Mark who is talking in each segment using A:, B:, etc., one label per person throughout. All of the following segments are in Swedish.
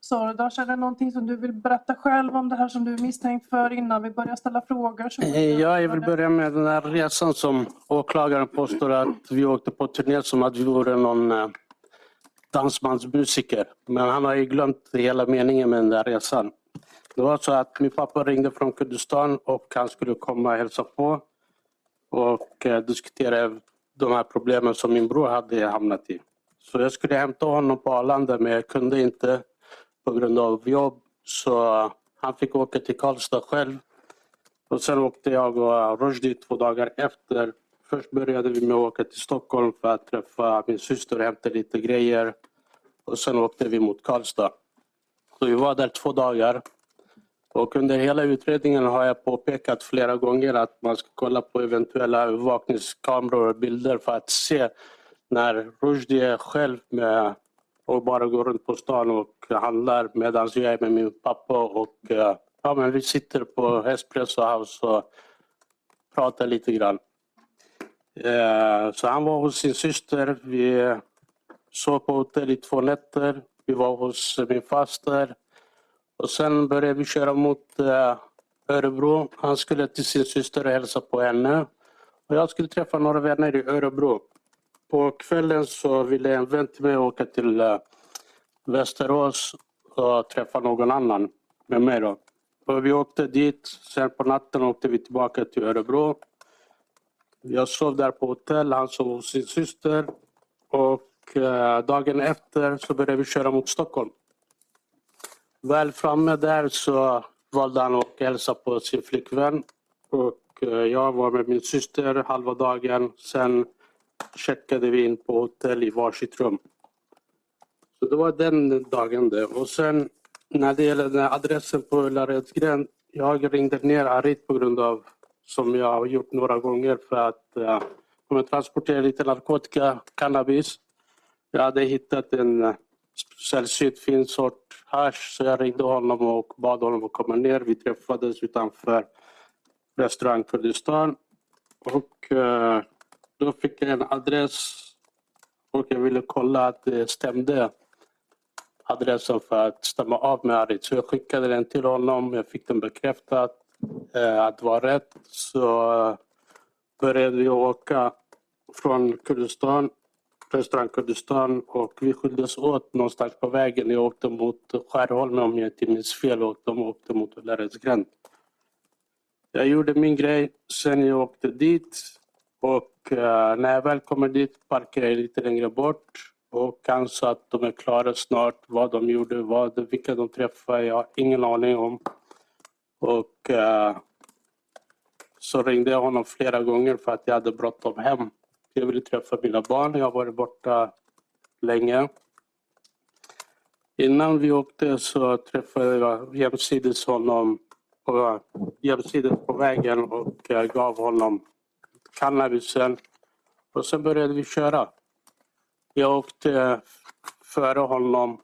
A: Sordash, är det någonting som du vill berätta själv om det här som du är misstänkt för innan vi börjar ställa frågor? Så
B: Eh, Ja, jag vill börja med den här resan som åklagaren påstår att vi åkte på turné som att vi vore någon eh, dansbandsmusiker. Men han har ju glömt hela meningen med den där resan. Det var så att min pappa ringde från Kurdistan och han skulle komma och hälsa på och eh, diskutera de här problemen som min bror hade hamnat i. Så jag skulle hämta honom på Arlanda men jag kunde inte på grund av jobb. Så han fick åka till Karlstad själv och sen åkte jag och Rushdie två dagar efter. Först började vi med att åka till Stockholm för att träffa min syster och hämta lite grejer. Och sen åkte vi mot Karlstad. Så vi var där två dagar. Och under hela utredningen har jag påpekat flera gånger att man ska kolla på eventuella övervakningskameror och bilder för att se när Rushdie är själv med och bara går runt på stan och handlar medan jag är med min pappa och eh, ja, men vi sitter på Espresso House och pratar lite grann. Eh, Så han var hos sin syster. Vi sov på hotell i två nätter. Vi var hos min faster. Och sen började vi köra mot eh, Örebro. Han skulle till sin syster och hälsa på henne. Och jag skulle träffa några vänner i Örebro. På kvällen så ville en vän till mig åka till eh, Västerås och träffa någon annan med mig. Då. Och vi åkte dit, sen på natten åkte vi tillbaka till Örebro. Jag sov där på hotell, han sov hos sin syster. Och eh, dagen efter så började vi köra mot Stockholm. Väl framme där så valde han att hälsa på sin flickvän. Och eh, jag var med min syster halva dagen. Sen checkade vi in på hotell i varsitt rum. Så det var den dagen det. Och sen när det gäller den här adressen på Ullaredsgränd. Jag ringde ner Arit på grund av, som jag har gjort några gånger, för att eh, om jag transporterade lite narkotika, cannabis. Jag hade hittat en eh, sällsynt fin sort hasch så jag ringde honom och bad honom att komma ner. Vi träffades utanför restaurang Kurdistan. Och eh, då fick jag en adress och jag ville kolla att det stämde adressen för att stämma av med Arit. Så jag skickade den till honom. Jag fick den bekräftad eh, att det var rätt. Så eh, började vi åka från Kurdistan, restaurang Kurdistan och vi skildes åt någonstans på vägen. Jag åkte mot Skärholmen om jag inte minns fel och de åkte mot Ullaredsgränd. Jag gjorde min grej, sen jag åkte dit och eh, när jag väl kommer dit parkerade jag lite längre bort och han sa att de är klara snart, vad de gjorde, vad, vilka de träffade, jag har ingen aning om. Och eh, så ringde jag honom flera gånger för att jag hade bråttom hem. Jag ville träffa mina barn, jag har varit borta länge. Innan vi åkte så träffade jag jämsides honom på, jämsides på vägen och jag gav honom cannabisen. Och sen började vi köra. Jag åkte före honom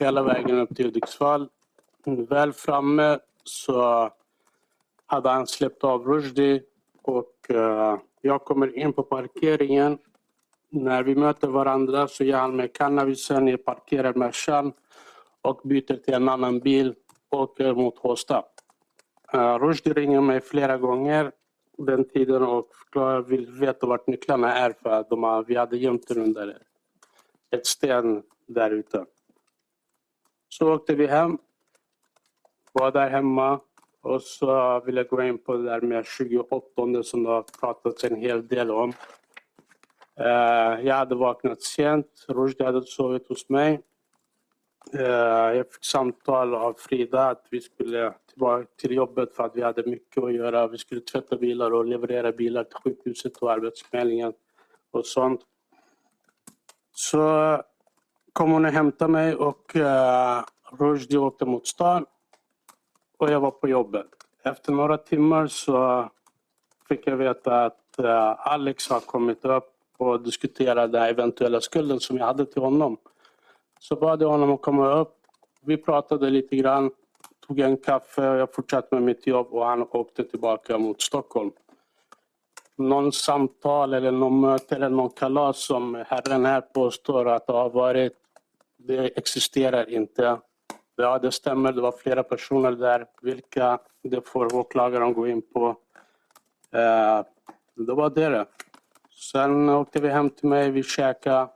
B: hela vägen upp till Hudiksvall. Väl framme så hade han släppt av Rushdie och eh, jag kommer in på parkeringen. När vi möter varandra så ger han mig cannabisen, jag parkerar Mercan och byter till en annan bil och åker mot Håsta. Eh, Rushdie ringer mig flera gånger den tiden och förklarar, vill veta vart nycklarna är för att de har, vi hade gömt den under ett sten där ute. Så åkte vi hem, var där hemma och så ville jag gå in på det där med 28 som det har pratats en hel del om. Eh, jag hade vaknat sent, Rushdie hade sovit hos mig. Eh, Jag fick samtal av Frida att vi skulle tillbaka till jobbet för att vi hade mycket att göra. Vi skulle tvätta bilar och leverera bilar till sjukhuset och Arbetsförmedlingen och sånt. Så kom hon och hämtade mig och eh, Rushdie åkte mot stan. och jag var på jobbet. Efter några timmar så fick jag veta att eh, Alex har kommit upp och diskuterat den här eventuella skulden som jag hade till honom. Så bad jag honom att komma upp. Vi pratade lite grann, tog en kaffe och jag fortsatte med mitt jobb och han åkte tillbaka mot Stockholm. Någon samtal eller någon möte eller någon kalas som herren här påstår att det har varit, det existerar inte. Ja, det stämmer. Det var flera personer där. Vilka? Det får åklagaren gå in på. Eh, det var det. det. Sen åkte vi hem till mig, vi käkade.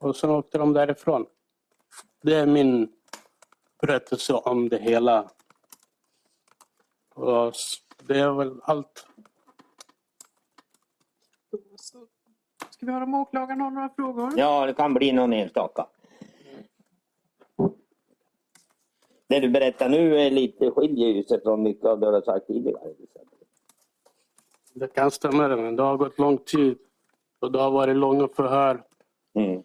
B: Och sen åkte de därifrån. Det är min berättelse om det hela. Och s- det är väl allt.
A: Så, ska vi höra om åklagaren har några frågor?
C: Ja, det kan bli någon enstaka. Det du berättar nu är lite skiljer ju sig från mycket av det du har sagt tidigare.
B: Det kan stämma, det, men det har gått lång tid. Och det har varit långa förhör.
C: Mm.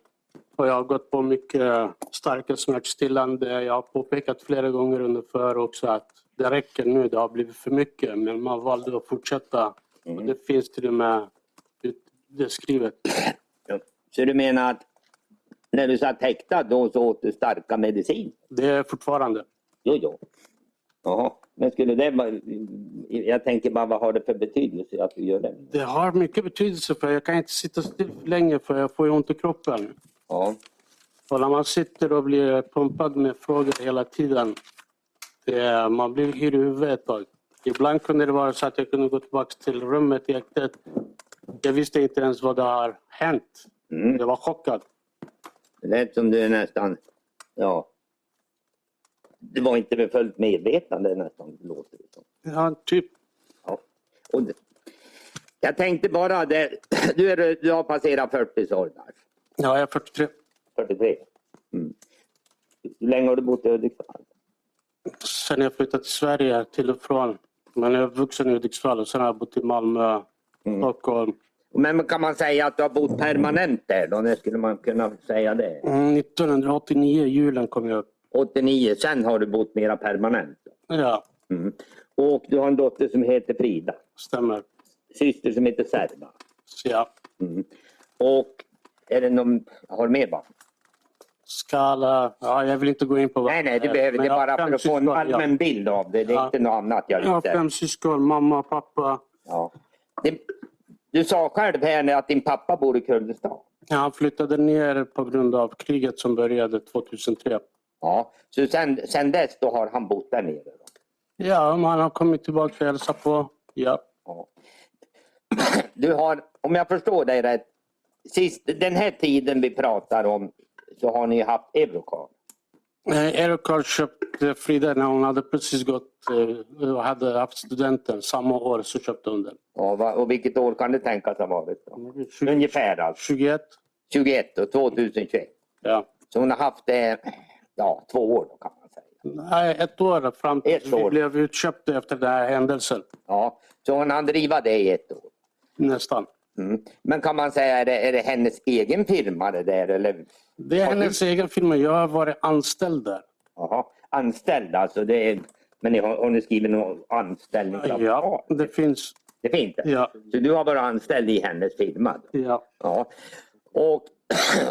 B: Och jag har gått på mycket starka smärtstillande. Jag har påpekat flera gånger under förhör också att det räcker nu, det har blivit för mycket. Men man valde att fortsätta. Och det finns till och med ut- det skrivet.
C: Ja. Så du menar att när du satt häktad då så åt du starka medicin?
B: Det är fortfarande.
C: Jo, jo. Jaha. Men skulle det bara... Jag tänker bara, vad har det för betydelse att du gör det?
B: Det har mycket betydelse för jag kan inte sitta still för länge för jag får ju ont i kroppen.
C: Ja.
B: Och när man sitter och blir pumpad med frågor hela tiden, det är, man blir yr i huvudet ett tag. Ibland kunde det vara så att jag kunde gå tillbaka till rummet i häktet. Jag visste inte ens vad det har hänt.
C: Mm.
B: Jag var chockad.
C: Det lät som du är nästan... Ja. Du var inte vid fullt medvetande nästan, låter det som.
B: Ja, typ.
C: Ja. Och det, jag tänkte bara, det, du, är, du har passerat 40 så där.
B: Ja, jag är 43.
C: 43. Mm. Hur länge har du bott i Hudiksvall?
B: Sen jag flyttade till Sverige, till och från. Men jag är vuxen i Hudiksvall och sen har jag bott i Malmö, eh, Stockholm.
C: Men kan man säga att du har bott permanent där då? När skulle man kunna säga det?
B: Mm, 1989, julen, kom jag upp.
C: 89, sen har du bott mera permanent.
B: Ja,
C: Mm. Och du har en dotter som heter Frida.
B: stämmer.
C: Syster som heter Serba.
B: Så ja.
C: Mm. Och är det någon, har du mer barn?
B: Skala. Ja, jag vill inte gå in på vad
C: Nej, nej,
B: det
C: du
B: är,
C: behöver
B: Eh, men
C: det
B: jag har
C: bara
B: fem
C: för att få en
B: syskon,
C: allmän
B: Ja.
C: bild av det. Det är
B: Ja.
C: inte något annat jag är
B: Jag har
C: ute efter.
B: fem syskon, mamma, pappa.
C: Ja. Det, du sa själv här nu att din pappa bor i Kurdistan.
B: Ja, han flyttade ner på grund av kriget som började 2003.
C: Ja. Så sen, sen dess då har han bott där nere? Då.
B: Ja, men han har kommit tillbaka och hälsat på. Ja,
C: Ja. Du har, om jag förstår dig rätt, sist, den här tiden vi pratar om så har ni ju haft Eurocar.
B: Eh, Erokar köpte eh, Frida när hon hade precis gått eh, och hade haft studenten. Samma år så köpte hon den.
C: Ja, va, och vilket år kan det tänkas ha varit? Då? Ungefär alltså,
B: 21.
C: 21 och 2021.
B: Ja.
C: Så hon har haft det ja, två år då kan man säga.
B: Nej, ett år fram
C: Ett
B: tills vi
C: år.
B: blev utköpta efter den här händelsen.
C: Ja, så hon har drivit det i ett år.
B: Nästan.
C: Mm. Men kan man säga, är det, är det hennes egen firma det där? Eller?
B: Det är
C: Har du-
B: hennes egen firma. Jag har varit anställd där.
C: Jaha, anställd alltså. Det är, men ni har, har ni skrivit något anställningsavtal?
B: Ja, det finns.
C: Det finns det?
B: Ja.
C: Så du har varit anställd i hennes firma? Då?
B: Ja.
C: Ja. Och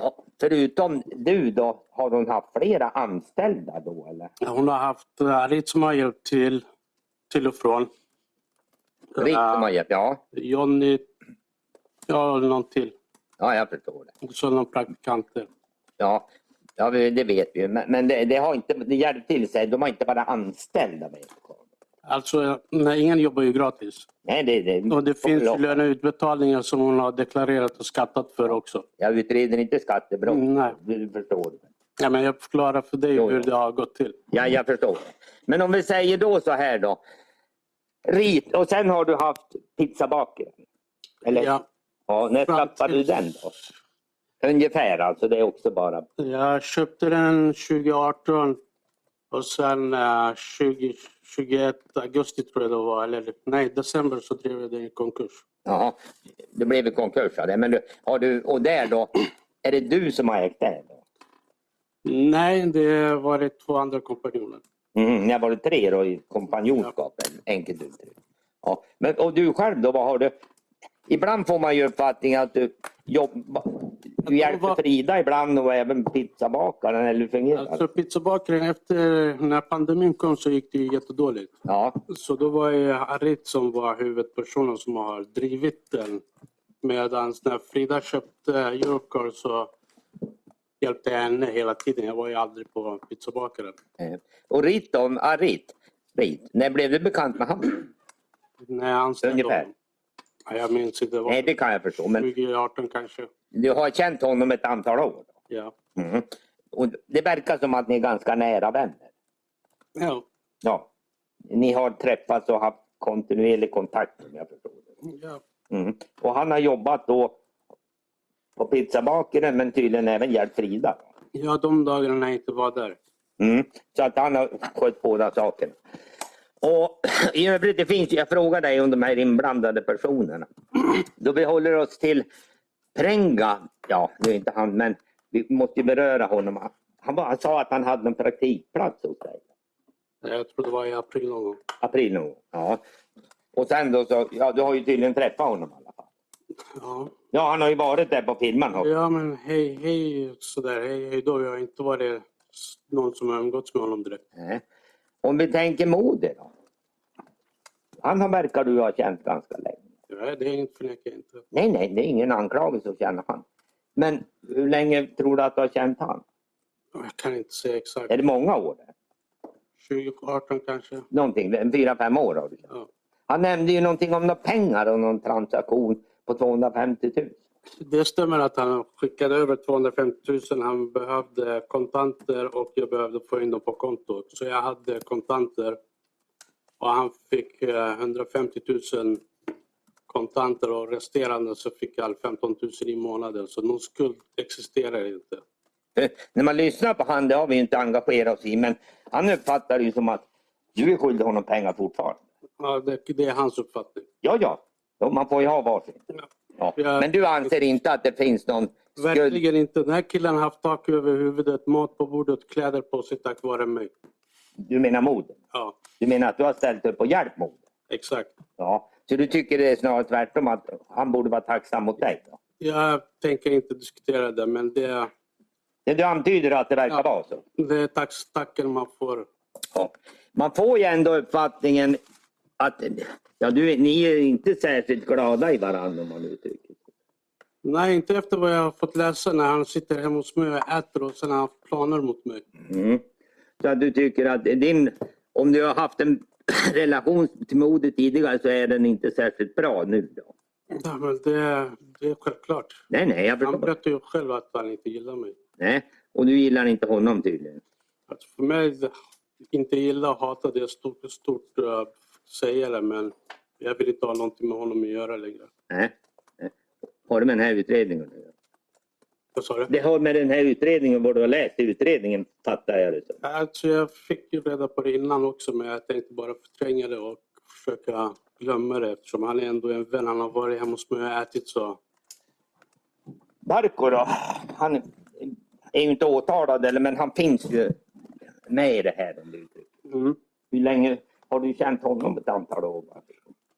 C: förutom du då, har hon haft flera anställda då eller?
B: Hon har haft eh, Arit som har hjälpt till, till och från.
C: Rikt som har hjälpt? Ja.
B: Jonny, ja och någon till.
C: ja, jag förstår det.
B: Och så någon praktikant. där.
C: Ja, ja vi- det vet vi ju. Men, men det, det har inte, det hjälpt till sig. De har inte bara anställda med.
B: Alltså, eh, nej, ingen jobbar ju gratis.
C: Nej, det, det,
B: Och det finns ju löneutbetalningar som hon har deklarerat och skattat för också.
C: Jag utreder inte skattebrott.
B: Mm, nej.
C: Du förstår.
B: Ja, men jag förklarar för dig
C: Jo,
B: hur
C: jo.
B: det har gått till.
C: Ja, jag förstår. Men om vi säger då så här då. Rit, och sen har du haft pizzabakaren. Eller?
B: Ja,
C: Ja, när
B: fram
C: tappade du
B: till-
C: den då? Ungefär alltså, det är också bara...
B: Jag köpte den 2018 och sen eh, 2021, augusti tror jag det var, eller nej, december så drev jag den i konkurs.
C: Jaha, det blev ju konkurs av det. Men du, har du, och där då, är det du som har ägt det? Då?
B: Nej, det var det två andra kompanjoner.
C: Mm, när var det tre då i kompanjonskapen? Enkelt uttryckt. Ja. Men, och du själv då, vad har du? Ibland får man ju uppfattningen att du jobbar, du hjälper
B: vad-
C: Frida ibland och även pizzabakaren. Eller hur fungerar det?
B: Alltså pizzabakaren, efter när pandemin kom så gick det ju jättedåligt.
C: Ja,
B: Så då var det Arit som var huvudpersonen som har drivit den. Medan när Frida köpte Eurocar så hjälpte jag henne hela tiden. Jag var ju aldrig på pizzabakaren.
C: eh, och Rit om Arit. Rit. När blev du bekant med honom?
B: När jag anställde
C: Ungefär.
B: honom. Ja, jag minns inte. Det
C: Nej, det
B: var
C: kan jag förstå. Men
B: 2018 kanske.
C: du har känt honom ett antal år.
B: Ja.
C: Mm. Och det verkar som att ni är ganska nära vänner.
B: Ja,
C: Ja. Ni har träffats och haft kontinuerlig kontakt om jag förstår det.
B: ja.
C: Mm. Och han har jobbat då på pizzabakaren men tydligen även hjälpt Frida.
B: ja, de dagarna när jag inte var där.
C: Mm. Så att han har skött båda sakerna. Och i övrigt, det finns, jag frågar dig om de här inblandade personerna. Då vi håller oss till Prenga, ja nu är inte han men vi måste ju beröra honom. Han, var, han sa att han hade en praktikplats hos dig.
B: Jag tror det var i april någon gång.
C: April nog. Ja. Och sen då så, ja du har ju tydligen träffat honom i alla fall.
B: Ja.
C: Ja han har ju varit där på filmen också.
B: Ja men hej, hej sådär. Hej, hej då. Jag har inte varit s- någon som har umgåtts med honom direkt.
C: Nej. Om vi tänker Modi då. Han har, verkar du ha känt ganska länge.
B: Ja, det är inget förnekar jag inte.
C: Nej, nej, det är ingen anklagelse att känna han. Men hur länge tror du att du har känt han?
B: Jag kan inte säga exakt.
C: Är det många år? Där?
B: 2018 kanske.
C: Någonting, en fyra, fem år har du känt.
B: Ja.
C: Han nämnde ju någonting om några pengar och någon transaktion på 250 000.
B: Det stämmer att han skickade över 250 000. Han behövde kontanter och jag behövde få in dem på kontot. Så jag hade kontanter och han fick eh, 150 000 kontanter och resterande så fick jag 15 000 i månaden. Så någon skuld existerar inte.
C: Eh, När man lyssnar på han, det har vi ju inte engagerat oss i, men han uppfattar det ju som att du är skyldig honom pengar fortfarande.
B: Ja, det, det är hans uppfattning.
C: Ja, ja, Ja, man får ju ha varsin.
B: Ja.
C: Ja.
B: Ja.
C: Men du anser inte att det finns någon skuld?
B: Verkligen inte. Den här killen har haft tak över huvudet, mat på bordet, kläder på sig tack vare mig.
C: Du menar mod?
B: Ja,
C: Du menar att du har ställt upp och hjälpt mod?
B: exakt.
C: Ja, så du tycker det är snarare tvärtom att han borde vara tacksam mot dig? Då?
B: Jag tänker inte diskutera det men det,
C: Det du antyder att det verkar
B: Ja.
C: vara så?
B: det är tax- tacken man får.
C: Ja. Man får ju ändå uppfattningen att ja, du, ni är inte särskilt glada i varandra om man uttrycker sig.
B: Nej, inte efter vad jag har fått läsa när han sitter hemma hos mig och äter och sen har han haft planer mot mig.
C: Mm. Så att du tycker att din, om du har haft en relation till modet tidigare så är den inte särskilt bra nu då?
B: Ja, men det, det är självklart.
C: Nej, nej, jag
B: Han
C: förstår.
B: berättar ju själv att han inte gillar mig.
C: Nej. Och du gillar inte honom tydligen.
B: Alltså för mig, inte gilla och hata det är stort, stort uh, sägare men jag vill inte ha någonting med honom att göra längre.
C: Nej. Nej. Har det med den här utredningen att göra?
B: Vad sa du?
C: Det har med den här utredningen, vad du har läst i utredningen, fattar jag det som.
B: Alltså jag fick ju reda på det innan också men jag tänkte bara förtränga det och försöka glömma det eftersom han är ändå en vän. Han har varit hemma hos mig och ätit så.
C: Barko då, han är ju inte åtalad eller, men han finns ju med i det här. Om det uttrycks.
B: Mm.
C: Hur länge har du känt honom? Ett antal år? va?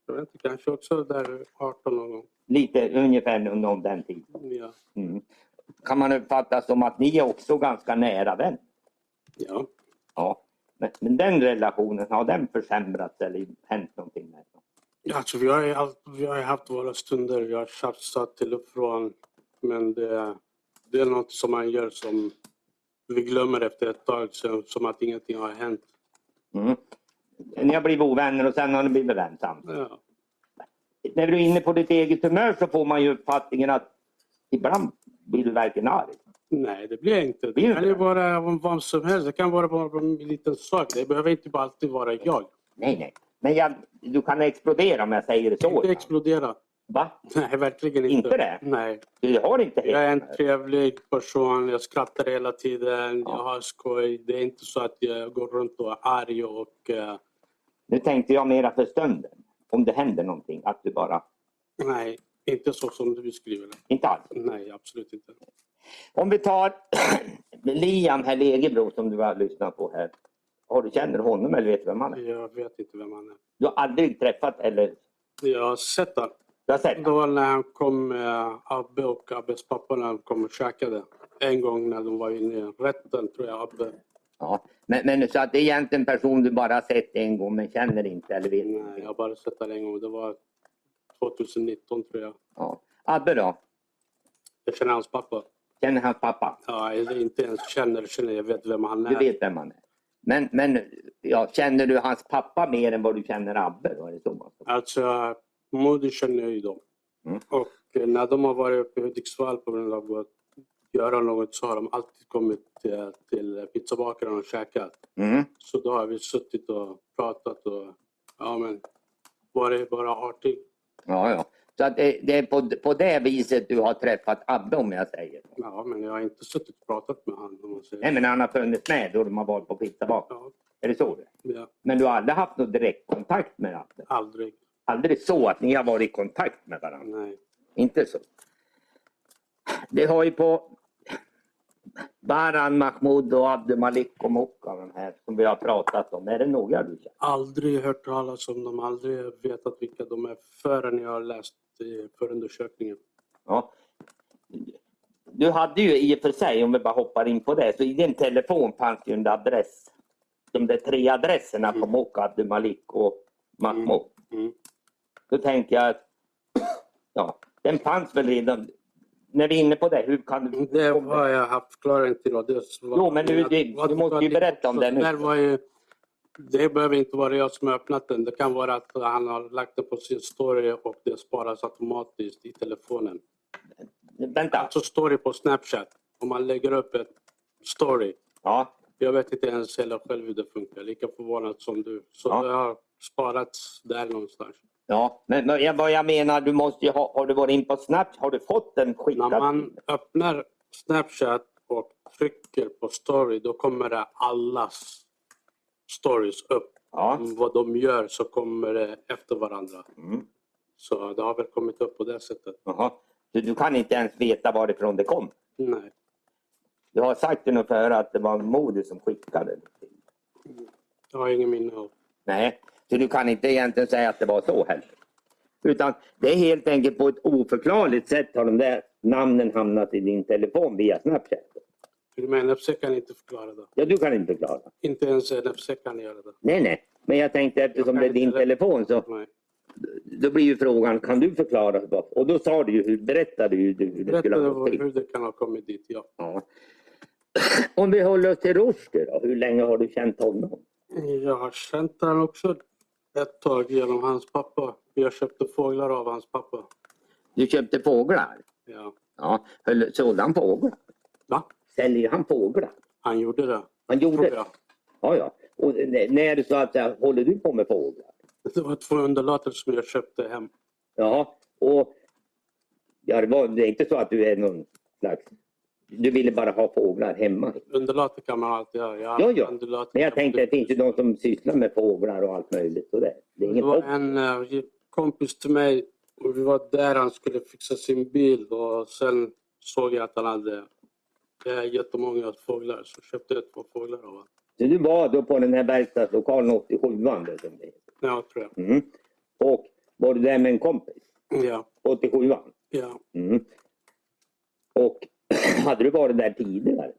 B: Jag vet inte, kanske också där 18 någon gång.
C: Lite ungefär under den tiden.
B: Ja.
C: Mm. Kan man uppfatta som att ni är också ganska nära vän?
B: ja.
C: Ja. Men, men den relationen, har den försämrats eller hänt någonting? Med den?
B: Alltså vi har, ju haft, vi har ju haft våra stunder. Jag har tjafsat till och från. Men det, det är något som man gör som vi glömmer efter ett tag så, som att ingenting har hänt.
C: Mm. Ni har blivit ovänner och sen har ni blivit vän sams.
B: Ja.
C: när du är inne på ditt eget humör så får man ju uppfattningen att ibland blir du verkligen arg.
B: Nej, det blir jag inte.
C: Blir
B: Det
C: det
B: kan
C: inte
B: ju
C: det?
B: vara om vad som helst. Det kan vara bara en liten sak. Det behöver inte bara alltid vara jag.
C: Nej, nej. Men jag, du kan explodera om jag säger det så.
B: Inte explodera.
C: Va?
B: Nej, verkligen inte.
C: Inte det?
B: Nej.
C: Du har inte helt
B: Jag är en
C: humör.
B: trevlig person. Jag skrattar hela tiden. Jag har skoj. Det är inte så att jag går runt och är arg och... eh,
C: Nu tänkte jag mera för stunden. Om det händer någonting, att du bara...
B: nej, inte så som du beskriver det.
C: Inte alls.
B: Nej, absolut inte.
C: Om vi tar Liam här, Legebro, som du har lyssnat på här. Har du känner du honom eller vet du vem han är?
B: Jag vet inte vem han är.
C: Du har aldrig träffat eller
B: Jag har sett honom.
C: du har sett
B: Det var när han kom med Abbe och Abbes pappa när de kom och käkade. En gång när de var inne i rätten tror jag Abbe.
C: ja. men, men så att det är egentligen en person du bara har sett en gång men känner inte eller vet
B: Nej, jag har bara sett honom en gång. Det var 2019 tror jag.
C: ja. Abbe då?
B: Jag känner hans pappa.
C: Känner hans pappa?
B: Ja, jag inte ens känner, känner. Jag vet vem han
C: Du
B: är.
C: vet vem han är? Men, men ja, känner du hans pappa mer än vad du känner Abbe? Då? Är det så? man ska-
B: Alltså, Modi känner jag ju dem.
C: Mm.
B: Och eh, när de har varit uppe i Hudiksvall på grund av att göra något så har de alltid kommit eh, till pizzabakaren och käkat.
C: Mm.
B: Så då har vi suttit och pratat och ja men varit bara artig.
C: Ja, ja. Så att det, det är på, på det viset du har träffat Abbe om jag säger så.
B: Ja men jag har inte suttit och pratat med honom om man säger.
C: Nej, men han har funnits med då de har varit på pizzabak.
B: Ja,
C: Är det så? det är?
B: ja,
C: Men du har aldrig haft någon direktkontakt med Abbe?
B: aldrig.
C: Aldrig så att ni har varit i kontakt med varandra?
B: Nej.
C: Inte så. Det har ju på Baran Mahmoud och Abdulmalik och Mokka, de här som vi har pratat om. Är det några du känner?
B: Aldrig hört talas om dem, aldrig vetat vilka de är förrän jag har läst i förundersökningen.
C: Ja. Du hade ju i och för sig, om vi bara hoppar in på det, så i din telefon fanns ju en adress. De där tre adresserna på Mokka, Abdulmalik och Mahmoud.
B: Mm.
C: Då tänker jag att ja, den fanns väl redan. När vi är inne på det, hur kan du...
B: Det har jag haft förklaring till. Och det var,
C: Jo, men nu- det-
B: vad-
C: du måste ju
B: vad-
C: berätta om det nu.
B: Där var ju, det behöver inte vara jag som har öppnat den. Det kan vara att han har lagt det på sin story och det sparas automatiskt i telefonen.
C: Vänta.
B: Alltså story på Snapchat. Om man lägger upp ett story.
C: Ja,
B: Jag vet inte ens heller själv hur det funkar. Lika förvånad som du. Så
C: Ja.
B: det har sparats där någonstans.
C: Ja, men men jag- vad jag menar, du måste ju ha, har du varit in på Snapchat, har du fått den skickad?
B: När man öppnar Snapchat och trycker på story då kommer det allas stories upp.
C: Ja.
B: Vad de gör så kommer det efter varandra.
C: Mm.
B: Så det har väl kommit upp på det sättet.
C: Jaha. Så du kan inte ens veta varifrån det kom?
B: Nej.
C: Du har sagt det för att det var Modi som skickade. det.
B: Jag har ingen minne av.
C: Nej, så du kan inte egentligen säga att det var så heller. Utan det är helt enkelt på ett oförklarligt sätt har de där namnen hamnat i din telefon via Snapchat.
B: Till och med NFC kan inte förklara det.
C: Ja, du kan inte förklara.
B: Inte ens NFC kan göra det.
C: Nej, nej. Men jag tänkte eftersom det är din telefon så
B: Nej.
C: då blir ju frågan, kan du förklara? vad- Och då sa du ju, hur- berättade ju du hur det skulle
B: Berätta
C: ha gått till.
B: hur det kan ha kommit dit. Ja.
C: Ja. Om vi håller oss till Rushdie då, hur länge har du känt honom?
B: Jag har känt den också ett tag genom hans pappa. Jag köpte fåglar av hans pappa.
C: Du köpte fåglar?
B: Ja.
C: Ja, höll, sålde han fåglar?
B: Va?
C: Säljer han fåglar?
B: Han gjorde det.
C: Han gjorde
B: Tror
C: det?
B: jag.
C: Ja, ja. Och n- när så att säga, håller du på med fåglar?
B: Det var två underlater som jag köpte hem.
C: Ja, och ja, det, var, det är inte så att du är någon slags... Du ville bara ha fåglar hemma?
B: Underlater kan man alltid ha. Jag har
C: Ja,
B: haft
C: ja.
B: undulater.
C: Men jag tänkte, det finns ju de som sysslar med fåglar och allt möjligt. Och det. det är
B: Det
C: inget
B: var
C: hopp.
B: en eh, kompis till mig och vi var där han skulle fixa sin bil och sen såg jag att han hade eh, jättemånga fåglar så köpte jag två fåglar av honom.
C: Så du var då på den här verkstadslokalen 87 då, som det heter.
B: Ja, tror jag.
C: Mm. Och var du där med en kompis?
B: Ja,
C: 87
B: ja.
C: mm. Och hade du varit där tidigare?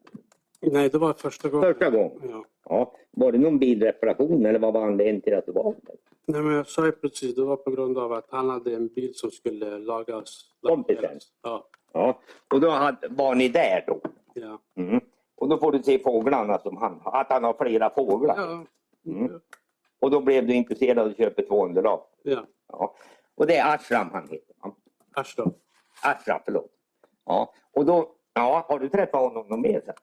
B: Nej, det var första gången.
C: Första gången?
B: Ja.
C: Ja. Var det någon bilreparation eller vad var anledningen till att du var där?
B: Nej, men jag sa ju precis, det var på grund av att han hade en bil som skulle lagas.
C: Kompisen?
B: lackeras. Ja,
C: Ja. Och då hade, var ni där då?
B: ja.
C: Mm. Och då får du se fåglarna som han har, att han har flera fåglar.
B: Ja,
C: Mm. Och då blev du intresserad och köpte två underlag.
B: ja.
C: Ja. Och det är Ashram han heter. va?
B: Äsch då.
C: Ashram, Ah, förlåt. Ja. Och då, ja, har du träffat honom någon mer sen?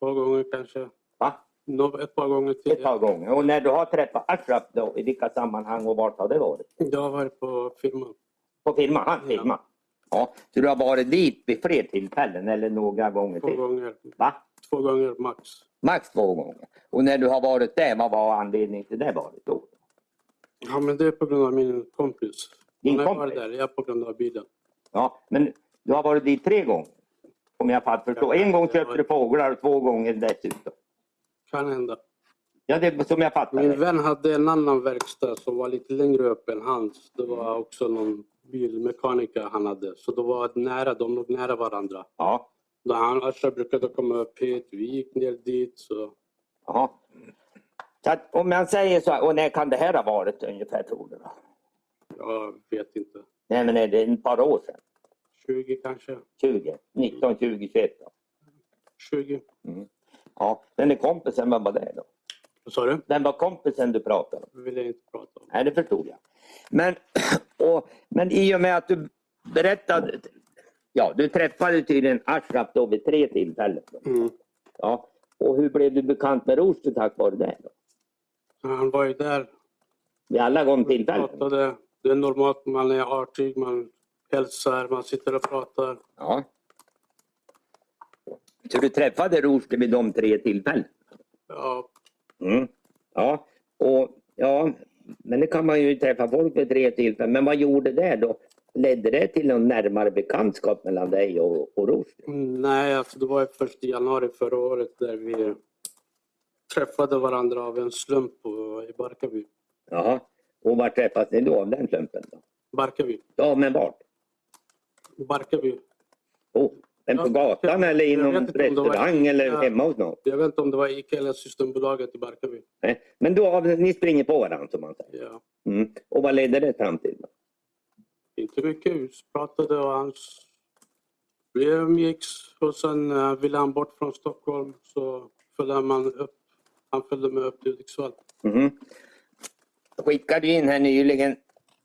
B: Två gånger kanske.
C: Va?
B: Nå- Ett par gånger till.
C: ett par gånger. Och när du har träffat Ashraf då, i vilka sammanhang och vart har det varit?
B: Jag har varit på filmen.
C: På filma? Han filmar? Ja. Så du har varit dit vid fler tillfällen eller några gånger
B: Två
C: till?
B: gånger.
C: Va?
B: Två gånger max.
C: Max två gånger. Och när du har varit där, vad var anledningen till det varit då?
B: Ja, men det är på grund av min kompis.
C: Din
B: Hon har varit
C: kompis?
B: Där. Jag är på grund av bilen.
C: Ja, men du har varit dit tre gånger? Om jag fattar förstå. En gång köpte du fåglar och två gånger dessutom.
B: Kan hända.
C: Ja, det är som jag fattar
B: Min
C: det.
B: vän hade en annan verkstad som var lite längre upp än hans. Det var också någon bilmekaniker han hade. Så det var nära, de låg nära varandra.
C: Ja.
B: Då han Ashraf brukade komma upp hit, vi gick ner dit. Så.
C: Jaha. Så att om man säger så här, och när kan det här ha varit ungefär tror du? Då?
B: Jag vet inte.
C: Nej men är det ett par år sedan?
B: 20 kanske?
C: 20? 19, 20, 21 då?
B: 20?
C: Ja, den är kompisen, vem var det då?
B: Vad sa du?
C: Den var kompisen du pratade om?
B: Det vill jag inte prata om.
C: Nej, det förstod jag. Men, och, men i och med att du berättade, ja du träffade tydligen Ashraf då vid tre tillfällen. Då.
B: Mm.
C: Ja. Och hur blev du bekant med Rushdie tack vare det? Då?
B: Han var ju där
C: Vid alla de tillfällena?
B: pratade. Det är normalt, man är artig, man hälsar, man sitter och pratar.
C: Ja. Så du träffade Rushdie vid de tre tillfällena?
B: Ja,
C: Mm. Ja, och ja, men det kan man ju träffa folk vid tre tillfällen. Men vad gjorde det då? Ledde det till någon närmare bekantskap mellan dig och, och Rushdie?
B: nej, alltså det var ju först i januari förra året där vi träffade varandra av en slump på, i Barkarby.
C: Jaha. Och var träffas ni då av den slumpen? Då?
B: Barkarby.
C: Ja, men vart?
B: Barkarby.
C: Oh, men på
B: Ja,
C: gatan eller i
B: jag vet
C: någon
B: inte om det var-
C: restaurang eller
B: Ja.
C: hemma hos någon?
B: Jag vet inte om det var Ica eller Systembolaget i Barkarby.
C: Nej. Men då, har- ni springer på varandra som man säger.
B: Ja.
C: Mm. Och vad ledde det fram till? Då?
B: Inte mycket. Vi pratade och han s- vi umgicks och sen eh, ville han bort från Stockholm så följde man upp. Han följde med upp till Hudiksvall.
C: Mhm. Skickade ju in här nyligen.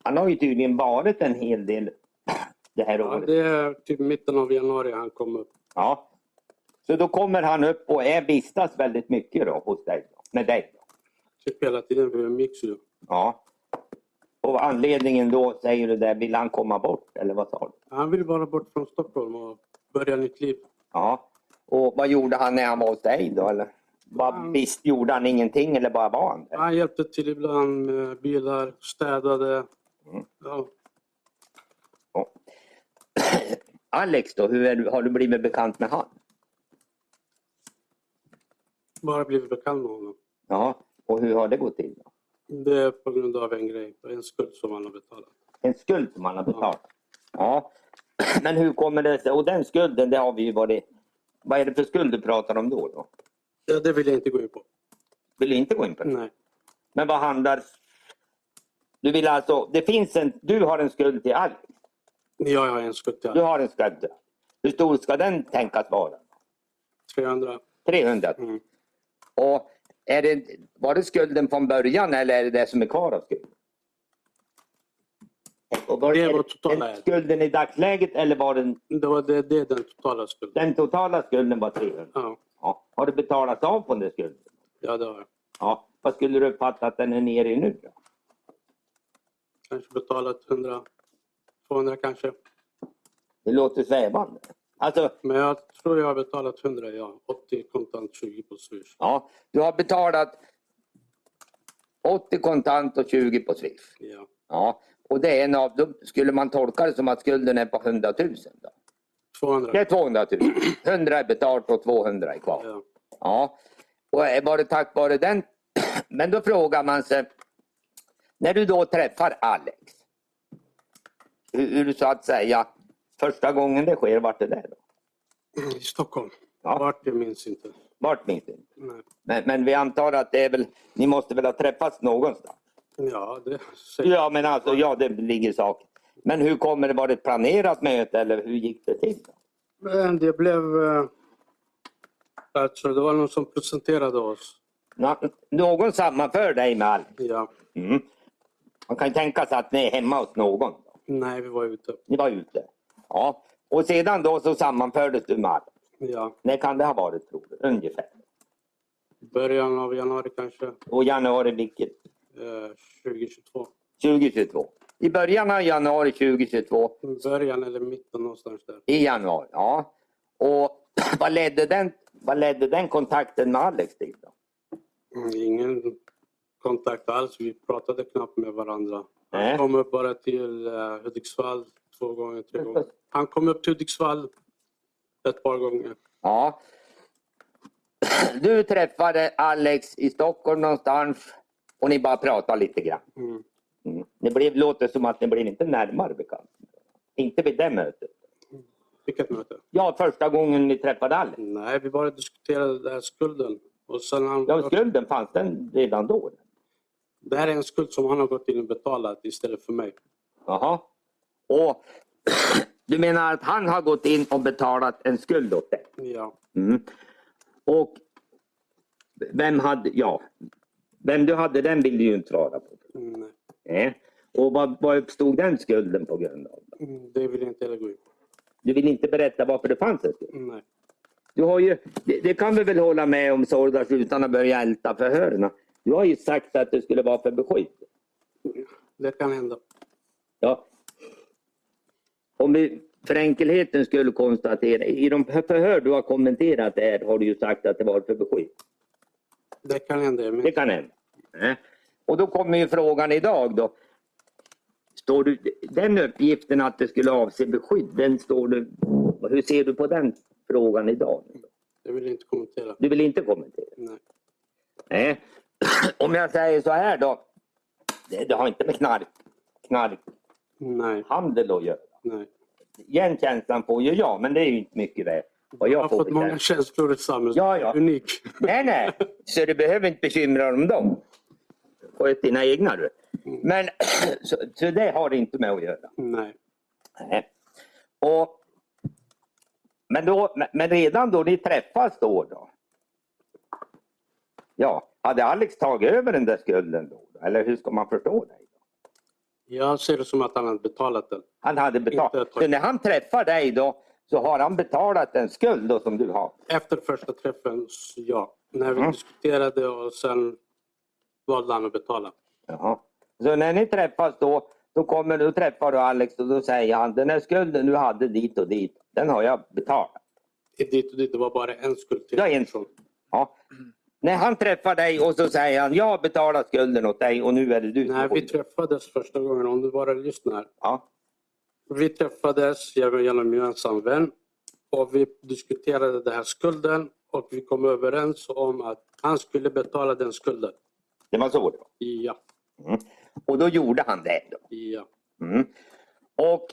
C: Han har ju tydligen varit en hel del det här
B: Ja,
C: året.
B: det är typ mitten av januari han kom upp.
C: Ja. Så då kommer han upp och är vistas väldigt mycket då hos dig? Då, med dig? Då.
B: Typ hela tiden. Vi umgicks ju.
C: Ja. Och anledningen då säger du där, vill han komma bort eller vad sa du?
B: Han ville bara bort från Stockholm och börja nytt liv.
C: Ja. Och vad gjorde han när han var hos dig då eller? Vad,
B: Han-
C: Visst gjorde han ingenting eller bara var han där?
B: Han hjälpte till ibland med bilar, städade. Ja,
C: Ja. Alex då, hur är du, har du blivit bekant med han?
B: bara blivit bekant med honom.
C: Ja. Och hur har det gått till? Då?
B: Det är på grund av en grej, en skuld som han har betalat.
C: En skuld som han har betalat. Ja. Men hur kommer det sig? Och den skulden, det har vi ju varit... Vad är det för skuld du pratar om då? då?
B: Ja, det vill jag inte gå in på.
C: Vill du inte gå in på det?
B: Nej.
C: Men vad handlar... Du vill alltså... Det finns en... Du har en skuld till Alex.
B: Ja, jag har en skuld till
C: Du
B: honom.
C: har en skuld. Hur stor ska den tänkas vara?
B: 300.
C: 300
B: Mm.
C: Och är det, var det skulden från början eller är det det som är kvar av skulden? Och var
B: Det
C: är
B: var totala.
C: är det skulden i dagsläget eller var den,
B: Det var det, det är den totala skulden.
C: den totala skulden var 300?
B: Ja,
C: Ja. Har du betalat av på den skulden?
B: ja det har jag.
C: Ja. Vad skulle du uppfatta att den är nere i nu? Då?
B: Kanske betalat 100, 200 kanske.
C: Det låter svävande. Alltså,
B: Men jag tror jag har betalat 100, ja. 80 kontant, 20 på Swish.
C: Ja, du har betalat 80 kontant och 20 på Swift.
B: Ja,
C: Ja, och det är en av, då skulle man tolka det som att skulden är på 100 000. Då.
B: 200.
C: Det är 200 000. 100 är betalt och 200 är kvar.
B: Ja.
C: Ja, och är- var det tack vare den? Men då frågar man sig, när du då träffar Alex, hur, hur så att säga, första gången det sker, vart är det då?
B: I Stockholm.
C: Ja.
B: Vart, jag minns inte.
C: Vart minns du inte?
B: Nej.
C: Men, men vi antar att det är väl, ni måste väl ha träffats någonstans?
B: Ja, det säger
C: Ja, men alltså, ja, det ligger i sak. Men hur kommer det? Var det ett planerat möte eller hur gick det till?
B: Men det blev... eh, Alltså, det var någon som presenterade oss.
C: Nå- Någon sammanför dig med Alex.
B: Ja.
C: Mm. Man kan ju tänka sig att ni är hemma hos någon.
B: Nej, vi var ute.
C: Ni var ute. Ja. Och sedan då så sammanfördes du med Alex.
B: Ja.
C: När kan det ha varit tror du? Ungefär.
B: Början av januari kanske.
C: Och januari vilket?
B: eh, 2022.
C: 2022. I början av januari 2022.
B: Början eller mitten någonstans där.
C: I januari, ja. Och vad ledde den, vad ledde den kontakten med Alex till? Då?
B: Mm, Ingen kontakt alls. Vi pratade knappt med varandra. Han
C: Nej.
B: kom upp bara till eh, Hudiksvall två gånger, tre gånger. Han kom upp till Hudiksvall ett par gånger.
C: Ja. du träffade Alex i Stockholm någonstans och ni bara pratade lite grann.
B: Mm.
C: Mm. Det blev, låter som att ni blev inte närmare bekant. Inte vid det mötet.
B: Vilket möte?
C: Ja, första gången ni träffade Alex.
B: Nej, vi bara diskuterade den här skulden. Och sen han,
C: Ja, skulden fanns den redan då?
B: Det här är en skuld som han har gått in och betalat istället för mig.
C: Jaha. Och du menar att han har gått in och betalat en skuld åt dig?
B: Ja.
C: Mm. Och vem hade, ja, vem du hade den vill du ju inte svara på.
B: Mm, nej.
C: Nej. Och vad, vad uppstod den skulden på grund av? då?
B: Mm, Det vill jag inte heller gå in på.
C: Du vill inte berätta varför det fanns en skuld.
B: Mm, Nej.
C: Du har ju, det, det kan vi väl hålla med om Sordas utan att börja älta förhören. Du har ju sagt att det skulle vara för beskydd.
B: Det kan hända.
C: Ja. Om vi för enkelheten skulle konstatera, i de förhör du har kommenterat det här har du ju sagt att det var för beskydd.
B: Det kan hända.
C: Det
B: Men
C: kan hända. Eh. Och då kommer ju frågan idag då. Står du, den uppgiften att det skulle avse beskydd, den står du, hur ser du på den frågan idag?
B: det vill jag inte kommentera.
C: Du vill inte kommentera?
B: Nej.
C: Nej. Om jag säger så här då. Det, det har inte med knark, knarkhandel
B: Nej.
C: att göra.
B: Nej.
C: Igen känslan får ju jag, men det är ju inte mycket värt. Vad
B: Jag
C: jag
B: har
C: får
B: fått
C: bestämma.
B: många känslor i samhället.
C: Ja, ja.
B: Unik.
C: Nej, nej. Så du behöver inte bekymra dig om dem. Sköt dina egna du.
B: Mm.
C: Men så, så det har det inte med att göra.
B: Nej.
C: Nej. Och, men, då, men redan då ni träffas då, då? Ja, hade Alex tagit över den där skulden då? då? Eller hur ska man förstå dig?
B: Jag ser det som att han har betalat den.
C: Han hade
B: Inte
C: betalat.
B: ett-
C: Så när han träffar dig då så har han betalat en skuld då som du har.
B: Efter första träffen, så ja. När vi
C: Mm.
B: diskuterade och sen valde han att betala.
C: Jaha. Så när ni träffas då, då kommer du träffar du Alex och då säger han den här skulden du hade dit och dit, den har jag betalat.
B: Dit och dit, det var bara en skuld till.
C: Jag är en skuld. Ja. När han träffar dig och så säger han jag har betalat skulden åt dig och nu är det du som
B: När
C: får
B: vi
C: den."
B: träffades första gången, om du bara lyssnar.
C: ja.
B: Vi träffades genom genom en gemensam vän och vi diskuterade den här skulden och vi kom överens om att han skulle betala den skulden.
C: Det var så det var.
B: Ja,
C: Och då gjorde han det. Då.
B: ja.
C: Mm. Och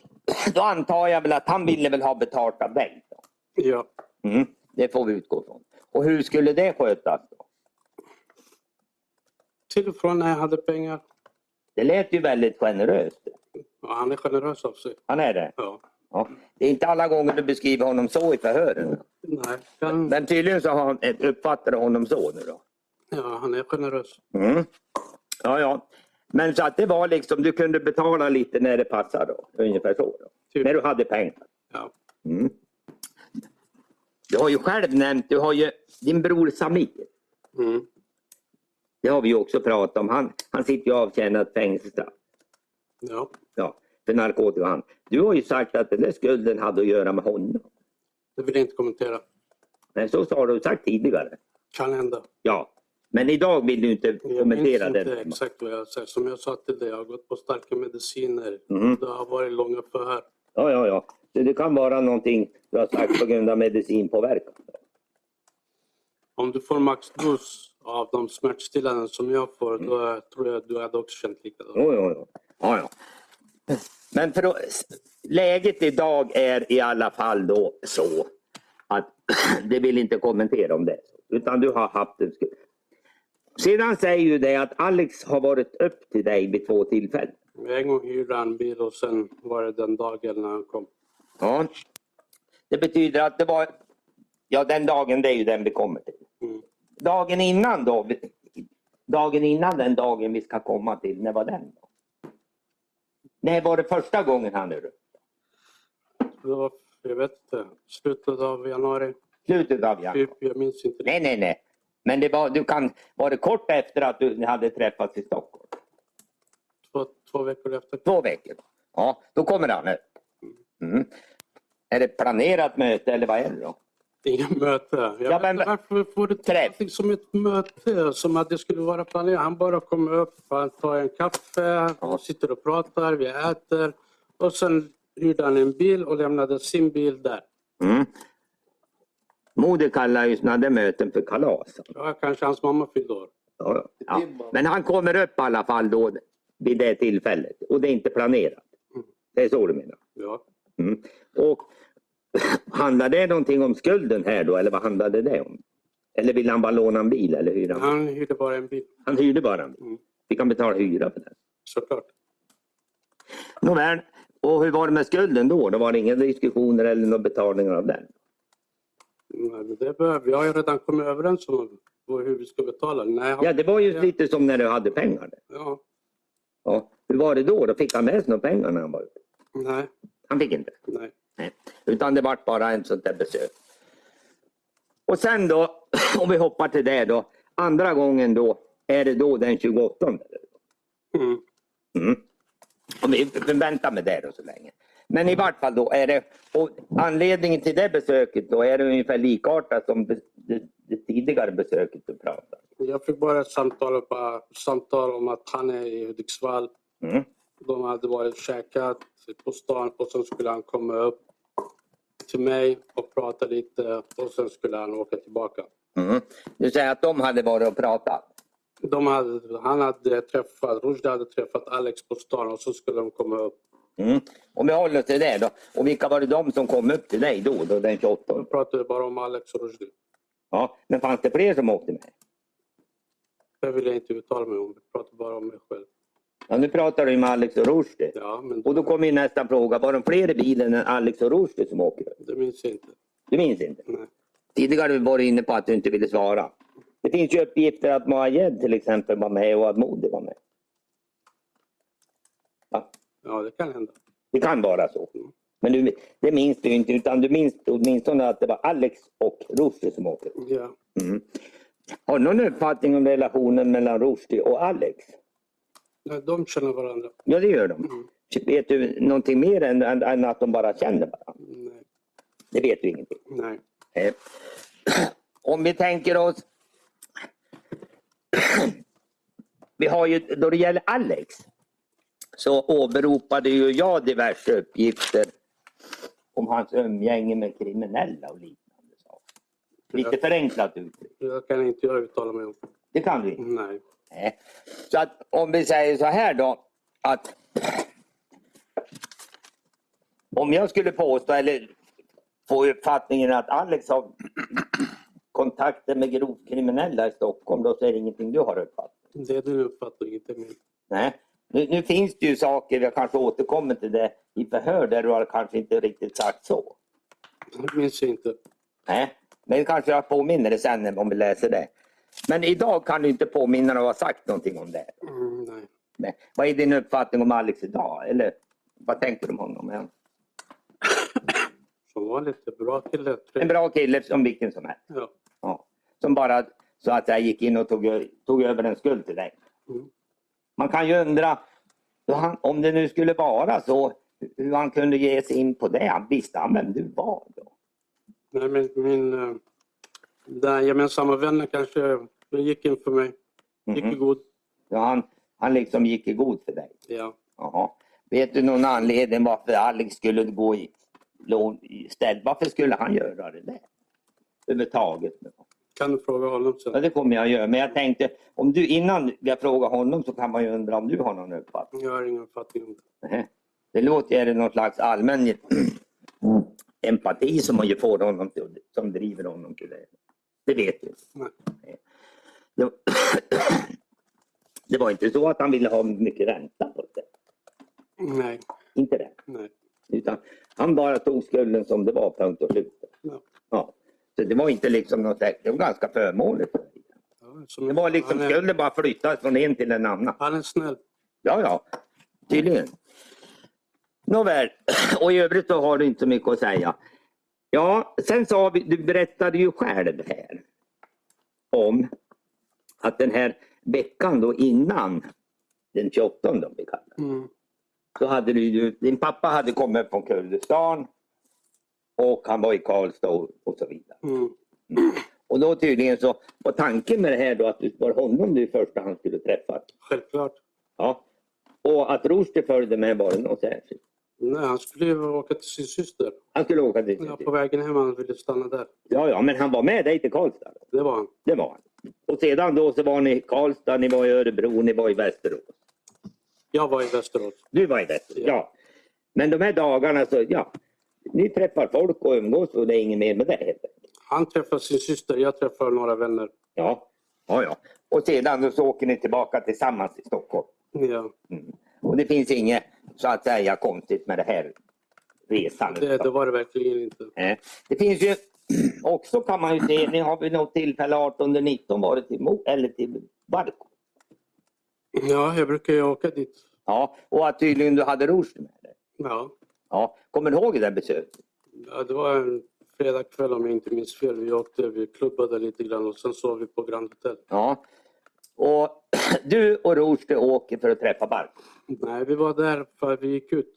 C: då antar jag väl att han ville väl ha betalt av dig. Då.
B: ja.
C: Mm, det får vi utgå från. Och hur skulle det skötas? Då?
B: Till och från när jag hade pengar.
C: Det lät ju väldigt generöst.
B: Ja, han är generös av sig.
C: Han är det.
B: Ja.
C: Ja. Det är inte alla gånger du beskriver honom så i förhören.
B: Nej, han,
C: Men tydligen så har han uppfattat honom så nu då.
B: ja, han är generös.
C: Mm. Ja, ja. Men så att det var liksom, du kunde betala lite när det passade då. Ungefär så. Då.
B: Typ.
C: När du hade pengar.
B: Ja.
C: Mm. Du har ju själv nämnt, du har ju din bror Samir.
B: Mm.
C: Det har vi ju också pratat om. Han, han sitter ju avtjänat fängelsestraff.
B: ja.
C: Ja, för narkotika. Han. Du har ju sagt att den där skulden hade att göra med honom.
B: Det vill jag inte kommentera.
C: Men så har du sagt tidigare.
B: Kan hända.
C: Ja, men idag vill du inte
B: Jag minns
C: kommentera
B: inte
C: den.
B: exakt vad jag säger. Som jag sa till dig, jag har gått på starka mediciner.
C: Mm.
B: Det har varit långa förhör.
C: Ja, ja, ja. Så det kan vara någonting du har sagt på grund av medicinpåverkan.
B: Om du får maxdos av de smärtstillande som jag får,
C: Mm.
B: då tror jag du hade också känt likadant.
C: Jo, jo, jo. Ja, ja. Men för då, läget idag är i alla fall då så att det vill inte kommentera om det. Utan du har haft en skuld. Sedan säger ju det att Alex har varit upp till dig vid två tillfällen.
B: En gång hyrde han bil och sen var det den dagen när han kom.
C: Ja. Det betyder att det var, ja den dagen det är ju den vi kommer till.
B: Mm.
C: Dagen innan då, dagen innan den dagen vi ska komma till, när var den? då? När var det första gången han är runt?
B: Det var, jag vet inte, slutet av januari.
C: Slutet av januari?
B: Typ, jag minns inte.
C: Nej, nej, nej. Men det var, du kan, var det kort efter att du hade träffats i Stockholm?
B: Två, två veckor efter.
C: Två veckor? Ja, då kommer han upp. Mm. Är det planerat möte eller vad är det då?
B: Inget möte. Jag
C: Ja,
B: vet
C: men-
B: inte varför får du
C: Träff.
B: någonting som ett möte? Som att det skulle vara planerat. Han bara kommer upp, han tar en kaffe,
C: Ja.
B: sitter och pratar, vi äter. Och sen hyrde han en bil och lämnade sin bil där.
C: Mm. Modi Mm. kallar ju sådana där möten för kalas.
B: Ja, kanske hans mamma fyllde år.
C: Ja, ja. Men han kommer upp i alla fall då vid det tillfället och det är inte planerat.
B: Mm.
C: Det är så du menar?
B: Ja.
C: Mm. Och handlar det någonting om skulden här då eller vad handlade det om? Eller ville han bara låna en bil eller hyra? Han,
B: Han hyrde bara en bil,
C: han hyrde bara en bil.
B: Mm.
C: Fick han betala hyra för den?
B: såklart.
C: Nåväl, och hur var det med skulden då? Det var det inga diskussioner eller några betalningar av den?
B: Nej, men det behöver, vi har ju redan kommit överens om hur vi ska betala. Nej, han,
C: Ja, det var ju
B: Ja.
C: lite som när du hade pengar. där.
B: ja,
C: Ja. Hur var det då? Då fick han med sig några pengar när han var ute?
B: nej,
C: Han fick inte.
B: nej.
C: Nej. Utan det vart bara en sånt där besök. Och sen då, om vi hoppar till det då. Andra gången då, är det då den 28?
B: Mm.
C: Mm. Och vi väntar med det då så länge. Men i vart fall då är det, och anledningen till det besöket då är det ungefär likartat som det, det, det tidigare besöket du pratade
B: Jag fick bara ett samtal, på, samtal om att han är i Hudiksvall.
C: om. Mm.
B: De hade varit och käkat på stan och sen skulle han komma upp till mig och prata lite och sen skulle han åka tillbaka.
C: Mm. Du säger att de hade varit och pratat.
B: De hade, han hade träffat, Rushdie hade träffat Alex på stan och så skulle de komma upp.
C: Mm. Om vi håller oss till det då. Och vilka var det de som kom upp till dig då, då den 28?
B: De pratade bara om Alex och Rushdie.
C: Ja. Men fanns det fler som åkte med?
B: Det vill jag inte uttala mig om. Jag pratar bara om mig själv.
C: Ja, nu pratar du ju med Alex och Rushdie.
B: Ja, men
C: Och då kommer ju nästa fråga. Var de fler i bilen än Alex och Rushdie som åker upp?
B: det minns jag inte.
C: Du minns inte?
B: Nej.
C: Tidigare var du inne på att du inte ville svara. Det finns ju uppgifter att Moayed till exempel var med och att Modi var med. Ja,
B: Ja, det kan hända.
C: det kan vara så. Men du, det minns du inte utan du minns åtminstone att det var Alex och Rushdie som åkte. upp.
B: Ja.
C: Mm. Har du någon uppfattning om relationen mellan Rushdie och Alex?
B: Nej, de känner varandra.
C: Ja, det gör de. Vet du någonting mer än, än, än att de bara känner varandra?
B: Nej.
C: Det vet du ingenting.
B: Nej.
C: Eh, Om vi tänker oss... Vi har ju, då det gäller Alex så åberopade ju jag diverse uppgifter om hans umgänge med kriminella och liknande saker. Lite förenklat uttryckt.
B: Det kan inte jag uttala mig om.
C: Det kan du inte.
B: Nej.
C: Nej. Så att om vi säger så här då att om jag skulle påstå eller få uppfattningen att Alex har kontakter med grovt kriminella i Stockholm, då så är det ingenting du har uppfattat.
B: Det är din uppfattning, inte min.
C: Nej. Nu, nu finns det ju saker, jag kanske återkommer till det i förhör där du har kanske inte riktigt sagt så.
B: Det minns jag inte.
C: Nej. Men kanske jag påminner det sen om vi läser det. Men idag kan du inte påminna dig att ha sagt någonting om det.
B: Mm, nej.
C: Nej. Vad är din uppfattning om Alex idag? Eller vad tänker du om honom?
B: Som vanligt, bra kille.
C: En bra kille som vilken som helst.
B: Ja.
C: Ja. Som bara så att jag gick in och tog, tog över en skuld till dig.
B: Mm.
C: Man kan ju undra hur han, om det nu skulle vara så hur han kunde ge sig in på det. Han visste han vem du var då?
B: Nej, men min... eh, Den gemensamma vännen kanske den gick in för mig. Gick i
C: Mhm.
B: god.
C: Ja, han, han liksom gick i god för dig.
B: Ja.
C: Jaha. Vet du någon anledning varför Alex skulle gå i lån i ställ? Varför skulle han göra det där? Överhuvudtaget.
B: Kan du fråga honom
C: Ja,
B: sen?
C: det kommer jag göra. Men jag tänkte, om du innan jag frågar honom så kan man ju undra om du har någon uppfattning.
B: Jag har ingen uppfattning om det.
C: Nähä. Det låter, är det någon slags allmän empati som man ju får honom till, som driver honom till det? Det vet du.
B: Nej.
C: Det, det var inte så att han ville ha mycket ränta på det.
B: Nej.
C: Inte det.
B: Nej.
C: Utan han bara tog skulden som det var, punkt och slut.
B: Ja.
C: Ja. Så det var inte liksom något, slags- det var ganska förmånligt. för dig.
B: Ja, som-
C: Det var liksom
B: han, är,
C: skulden bara flyttas från en till en annan.
B: han är snäll.
C: Ja, ja. Tydligen. Nåväl, och i övrigt så har du inte så mycket att säga. Ja, sen sa vi, du berättade ju själv här om att den här veckan då innan den 28 om vi kallar det,
B: Mm.
C: så hade du ju, din pappa hade kommit upp från Kurdistan och han var i Karlstad och, och så vidare.
B: Mm.
C: Och då tydligen så var tanken med det här då att det var honom du i första hand skulle träffa.
B: Självklart.
C: Ja. Och att Rushdie följde med var det något särskilt?
B: Nej, han skulle ju åka till sin syster.
C: Han skulle åka dit.
B: Ja, på vägen hem han ville stanna där.
C: Ja, ja, men han var med dig till Karlstad.
B: Det var han.
C: Det var han. Och sedan då så var ni i Karlstad, ni var i Örebro, ni var i Västerås.
B: Jag var i Västerås.
C: Du var i Västerås, ja. Men de här dagarna så, ja. Ni träffar folk och umgås och det är inget mer med det helt enkelt.
B: Han träffade sin syster, jag träffade några vänner.
C: Ja, ja, ja. Och sedan så åker ni tillbaka tillsammans till Stockholm.
B: Ja,
C: Och det finns inget så att säga konstigt med det här resan.
B: det, det var det verkligen inte.
C: Eh, Det finns ju också kan man ju se, ni har vid något tillfälle 1819 varit till Mo, eller till Barko.
B: Ja, jag brukar ju åka dit.
C: Ja, och att tydligen du hade Rushdie med dig.
B: Ja.
C: Ja, kommer du ihåg det där besöket?
B: ja, det var en fredagkväll om jag inte minns fel. Vi åkte, vi klubbade lite grann och sen sov vi på Grand Hotel.
C: Ja. Och du och Rushdie åker för att träffa Barko.
B: Nej, vi var där för vi gick ut.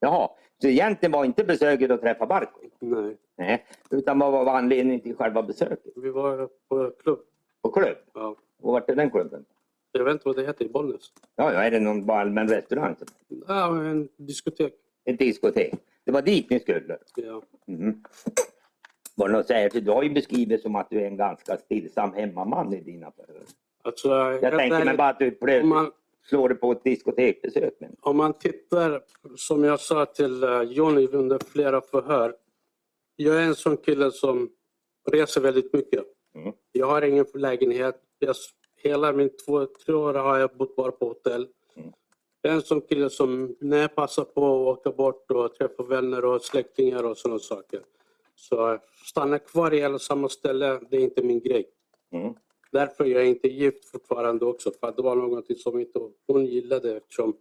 C: Jaha, så egentligen var inte besöket att träffa Barko?
B: Nej,
C: Nej, utan vad var anledningen till själva besöket?
B: vi var på klubb.
C: På klubb?
B: Ja.
C: Och vart är den klubben?
B: Jag vet inte vad det heter i Bollnäs.
C: Ja, ja, är det någon bara allmän restaurang?
B: Ja, en diskotek.
C: Ett diskotek? Det var dit ni skulle?
B: Ja.
C: Mm. Var det något särskilt? Du har ju beskrivit som att du är en ganska stillsam hemmaman i dina förhör.
B: Alltså,
C: Jag tänker mig bara att du plötsligt
B: om man,
C: slår dig på ett diskoteksbesök. Men,
B: om man tittar, som jag sa till eh, Johnny under flera förhör. Jag är en sån kille som reser väldigt mycket.
C: Mm.
B: Jag har ingen lägenhet. Jag, s- hela min två, tre år har jag bott bara på hotell.
C: Mm.
B: Jag är en sån kille som när jag passar på att åka bort och träffa vänner och släktingar och sådana saker. Så eh, stanna kvar i hela samma ställe, det är inte min grej.
C: mm.
B: Därför är jag inte gift fortfarande också. För att det var någonting som inte hon gillade eftersom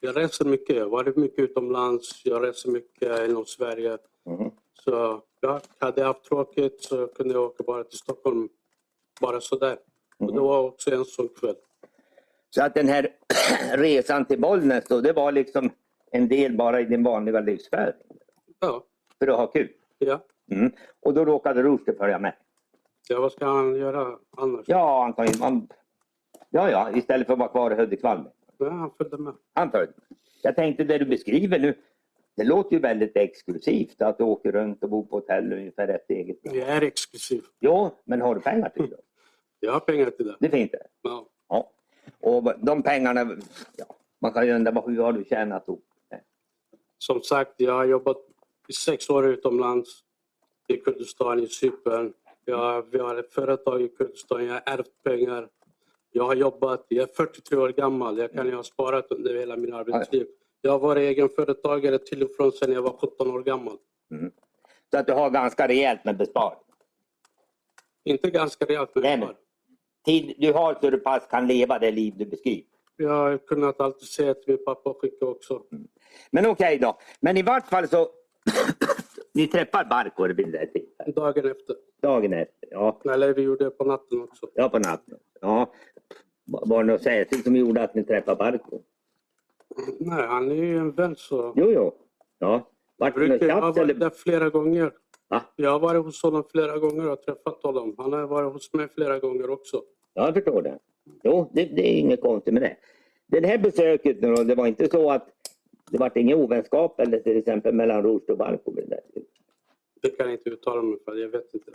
B: jag reser mycket. Jag har varit mycket utomlands. Jag reser mycket inom Sverige.
C: Mm.
B: Så ja, hade jag haft tråkigt så kunde jag åka bara till Stockholm. Bara sådär. Och det var också en sån kväll.
C: Så att den här resan till Bollnäs då, det var liksom en del bara i din vanliga livsfärd.
B: Ja,
C: För att ha kul.
B: ja.
C: Mm. Och då råkade Rushdie följa med.
B: ja vad ska han göra annars?
C: Ja, antagligen. Man... Ja, ja, istället för att vara kvar i Hudiksvall.
B: Ja, han följde med.
C: Han följde med. Jag tänkte det du beskriver nu, det låter ju väldigt exklusivt att du åker runt och bor på hotell ungefär efter eget val.
B: Jag är exklusiv.
C: Jo, men har du pengar till det?
B: Jag har pengar till det.
C: Det finns det.
B: Ja.
C: Ja. Och de pengarna, ja, man kan ju undra vad- hur har du tjänat ihop det?
B: Som sagt, jag har jobbat i sex år utomlands. I Kurdistan, i Cypern. Jag, vi har ett företag i Kurdistan. Jag har ärvt pengar. Jag har jobbat. Jag är 43 år gammal. Jag kan ju ha sparat under hela min arbetsliv. Jag har varit egenföretagare till och från sedan jag var 17 år gammal.
C: Så att du har ganska rejält med besparing.
B: Inte ganska rejält med
C: Nej, nej.
B: pengar.
C: Tid du har så du pass kan leva det liv du beskriver.
B: Jag har kunnat alltid säga till min pappa och skicka också.
C: Men okej då. Men i vart fall så, ni träffar Barkor vid det här tillfället.
B: Dagen efter.
C: Dagen efter, ja.
B: Eller vi gjorde det på natten också.
C: Ja, på natten. Ja. Var det något särskilt som gjorde att ni träffade Barko?
B: Nej, han är ju en vän så.
C: Jo, jo. Ja. Vart
B: Jag,
C: det något
B: brukar, jag har
C: tjafs
B: varit
C: eller?
B: där flera gånger.
C: Va?
B: Jag har varit hos honom flera gånger och träffat honom. Han har varit hos mig flera gånger också.
C: Ja, jag förstår det. Jo, det, det är inget konstigt med det. Det här besöket nu då, det var inte så att det vart ingen ovänskap eller till exempel mellan Rost och Barko vid det där tillfället?
B: Det kan jag inte uttala mig för, jag vet inte.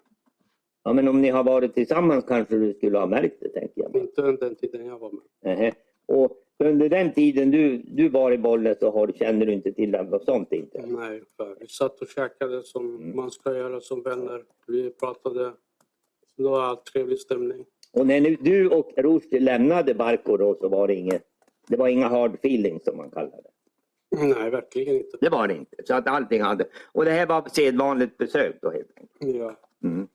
C: Ja, men om ni har varit tillsammans kanske du skulle ha märkt det, tänker jag. bara.
B: Inte under den tiden jag var med.
C: Nähä. Och under den tiden du, du var i Bollnäs så har, du- känner du inte till något sånt inte?
B: Nej, för vi satt och käkade som
C: Mm.
B: man ska göra som vänner. Vi pratade. Det var allt trevlig stämning.
C: Och när nu du och Rushdie lämnade Barko då så var det inget, det var inga hard feelings som man kallar det.
B: Nej, verkligen inte.
C: Det var det inte. Så att allting hade. Och det här var sedvanligt besök då helt enkelt.
B: Ja.
C: Mm.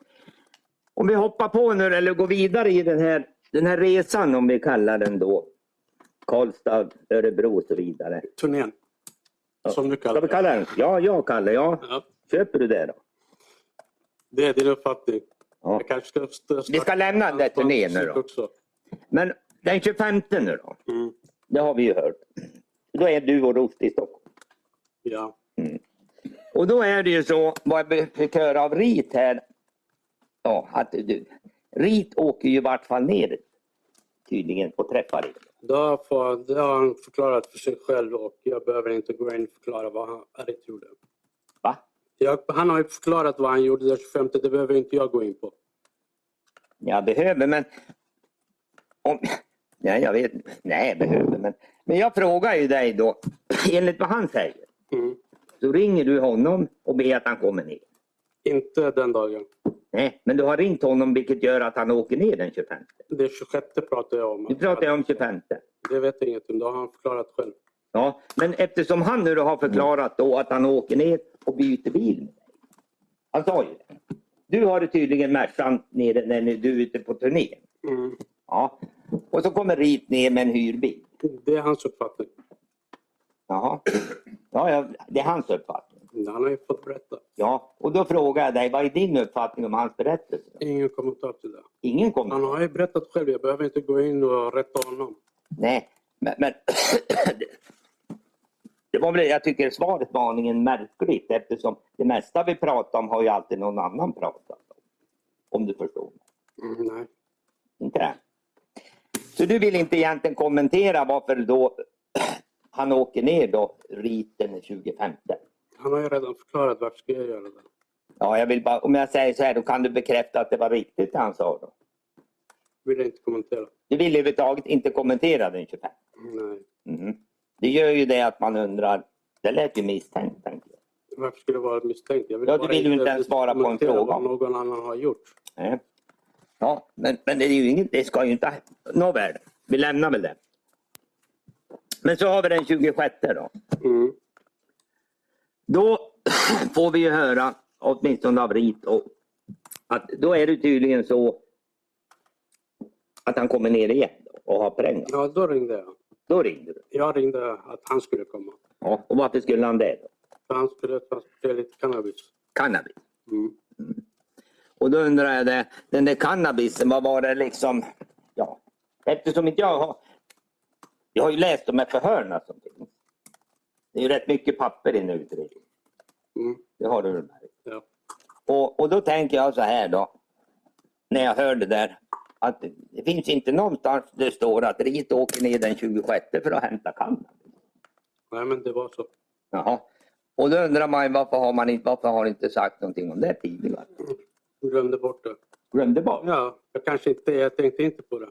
C: Om vi hoppar på nu eller går vidare i den här, den här resan om vi kallar den då. Karlstad, Örebro och så vidare.
B: Turnén. Som du
C: Ska
B: kallar
C: vi
B: det.
C: kalla den? Ja, jag kallar ja.
B: Ja,
C: Köper du det då?
B: det är din uppfattning.
C: Ja.
B: Jag kanske ska... st-
C: Vi ska lämna den där turnén nu då.
B: Också.
C: Men den 25 nu då?
B: Mm.
C: Det har vi ju hört. Då är du och Rushdie i Stockholm.
B: Ja.
C: Och då är det ju så, vad jag fick höra av RIT här, ja, att du, RIT åker ju i vart fall ner tydligen och träffar in.
B: Det har, fått, det har han förklarat för sig själv och jag behöver inte gå in och förklara vad han rätt gjorde.
C: Va?
B: Jag, han har ju förklarat vad han gjorde den 25, det behöver inte jag gå in på.
C: Jag behöver men... Om, nej, jag vet Nej, jag behöver men... Men jag frågar ju dig då, enligt vad han säger,
B: Mm.
C: så ringer du honom och ber att han kommer ner.
B: Inte den dagen.
C: Nej, men du har ringt honom vilket gör att han åker ner den 25.
B: Det 26 pratar jag om.
C: Nu pratar jag om 25.
B: Det vet jag inget om, det har han förklarat själv.
C: Ja, men eftersom han nu då har förklarat då att han åker ner och byter bil med dig. Han sa ju det. Du har det tydligen Mercan nere när ni- du är ute på turné.
B: Mm.
C: Ja. Och så kommer Rit ner med en hyrbil.
B: Det är hans uppfattning.
C: Jaha. Ja, ja, det är hans uppfattning.
B: Han har ju fått berätta.
C: Ja, och då frågar jag dig, vad är din uppfattning om hans berättelse?
B: Ingen kommentar till det.
C: Ingen kommer.
B: Han har ju berättat själv, jag behöver inte gå in och rätta honom.
C: Nej, men... men det var väl, jag tycker svaret var aningen märkligt eftersom det mesta vi pratar om har ju alltid någon annan pratat om. Om du förstår. mig.
B: Mm, nej.
C: Inte det? Så du vill inte egentligen kommentera varför då han åker ner då, riten den 25?
B: Han har ju redan förklarat varför ska jag göra det.
C: Ja, jag vill bara, om jag säger så här, då kan du bekräfta att det var riktigt det han sa då?
B: Vill jag inte kommentera.
C: Du vill överhuvudtaget inte kommentera den 25?
B: Nej.
C: Mhm. Det gör ju det att man undrar, det lät ju misstänkt. tänker jag.
B: Varför skulle jag vara misstänkt? Jag
C: Ja, du
B: bara
C: vill ju inte ens svara på en
B: kommentera
C: fråga.
B: vad någon annan har gjort.
C: Nej. Ja, men, men det är ju inget, det ska ju inte... Nåväl, vi lämnar väl det. Men så har vi den 26 då.
B: Mm.
C: Då får vi ju höra, åtminstone av Rit, och att då är det tydligen så att han kommer ner igen och har prängat.
B: Ja, då ringde jag.
C: Då ringde du.
B: Jag ringde att han skulle komma.
C: Ja. Och varför skulle han det? Då?
B: För han skulle transportera lite cannabis.
C: Cannabis.
B: Mm.
C: Och då undrar jag, det, den där cannabisen, vad var det liksom? Ja, eftersom inte jag har... Jag har ju läst de här förhörna som finns. Det är ju rätt mycket papper i en utredning.
B: Mm.
C: Det har du väl märkt.
B: Ja.
C: Och, och då tänker jag så här då. När jag hör det där. Att det finns inte någonstans det står att Rit åker ner den 26 för att hämta cannabis.
B: Nej, men det var så.
C: Jaha. Och då undrar man ju, varför har man inte, varför har inte sagt någonting om det tidigare?
B: Jag glömde bort det.
C: Glömde bort.
B: Ja, jag kanske inte, jag tänkte inte på det.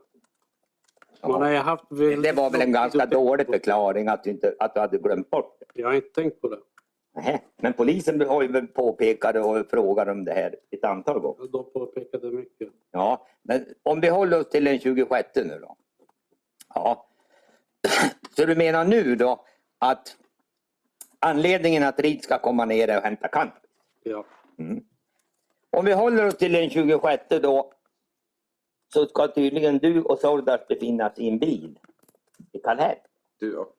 B: Man har ju haft
C: Men Det var väl en ganska dålig förklaring att du, inte, att du hade glömt bort det.
B: Jag har inte tänkt på det.
C: Nähä. Men polisen har ju väl påpekat det och frågat om det här ett antal gånger.
B: De påpekade mycket.
C: Ja, men om vi håller oss till den 26 nu då. Ja. Så du menar nu då att anledningen att Rid ska komma ner är att hämta kant?
B: Ja.
C: Om vi håller oss till den 26 då så ska tydligen du och Sordas befinnas i en bil i Kallhäll.
D: Du och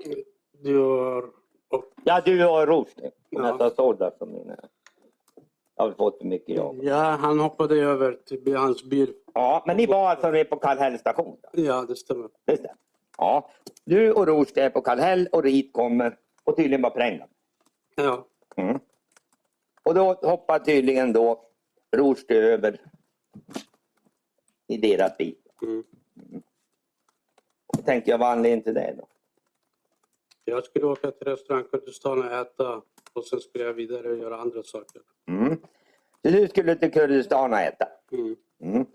B: Du har... Och
C: Ja, du och Rushdie. Om jag
B: Ja.
C: sa Sordas så menar jag. alltså, eh, Jag har fått för mycket jag.
B: Ja, han hoppade över till hans bil.
C: Ja, men ni var alltså med på Kallhäll station? då?
B: Ja, det stämmer.
C: Just det. Ja, du och Rushdie är på Kallhäll och Rit kommer och tydligen var prängad.
B: Ja,
C: Mm. Och då hoppar tydligen då Rushdie över i deras bil.
B: Mm.
C: Då tänkte jag, vad är anledningen till det då?
B: jag skulle åka till restaurang Kurdistan och äta och sen skulle jag vidare och göra andra saker.
C: Mm. Så du skulle till Kurdistan och äta.
B: Mm.
C: Mm.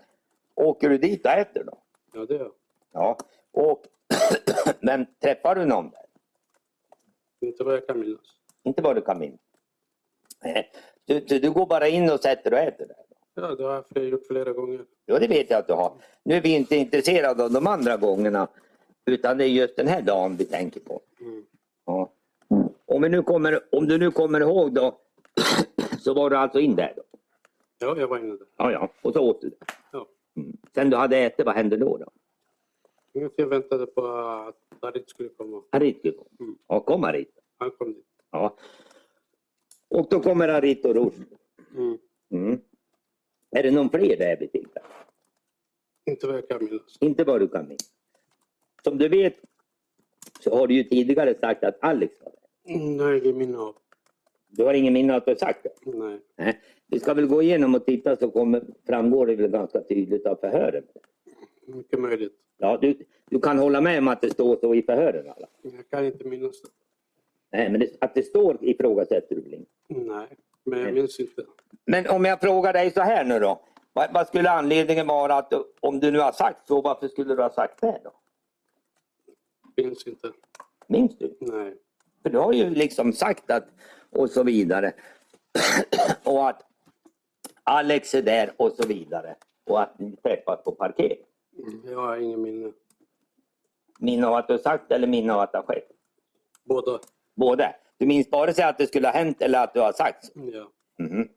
C: Åker du dit och äter då?
B: Ja, det gör
C: Ja. Och vem träffar du någon där?
B: jag. Inte vad jag kan minnas.
C: Inte vad du kan minnas. Nej. Du, du, du går bara in och sätter och äter där.
B: Ja, det har jag gjort flera gånger.
C: Ja, det vet jag att du har. Nu är vi inte intresserade av de andra gångerna. Utan det är just den här dagen vi tänker på.
B: Mm.
C: Ja. Om, vi nu kommer, om du nu kommer ihåg då. så var du alltså in där då?
B: Ja, jag var inne där.
C: Ja, ja. Och så åt du det.
B: Ja.
C: Mm. Sen du hade ätit, vad hände då? då?
B: Inget jag väntade på att Arit skulle komma.
C: Harit kom.
B: Mm.
C: Ja, kom Harit.
B: Han kom dit.
C: Ja. Och då kommer Harit och Rosh.
B: Mm.
C: Mm. Är det någon fler där vid tillfället?
B: Inte vad jag kan minnas.
C: Inte vad du kan minnas. Som du vet så har du ju tidigare sagt att Alex var där.
B: Mm, det har jag inget minne av.
C: Du har ingen minne av att du har sagt det?
B: Nej.
C: Nej. Vi ska väl gå igenom och titta så kommer, framgår det väl ganska tydligt av förhören.
B: Mycket möjligt.
C: Ja, du, du kan hålla med om att det står så i förhören? Alla.
B: Jag kan inte minnas det.
C: Nej, men det, att det står ifrågasätter du väl inte?
B: Nej, men jag minns inte.
C: Men om jag frågar dig så här nu då. Vad, vad skulle anledningen vara att om du nu har sagt så, varför skulle du ha sagt det då?
B: Minns inte.
C: Minns du?
B: Nej.
C: För du har ju liksom sagt att och så vidare. och att Alex är där och så vidare. Och att ni träffas på parkering.
B: Jag har ingen minne.
C: Minne av att du har sagt eller minne av att det har skett?
B: Båda.
C: Både. Du minns bara sig att det skulle ha hänt eller att du har sagt så.
B: Ja.
C: Mhm.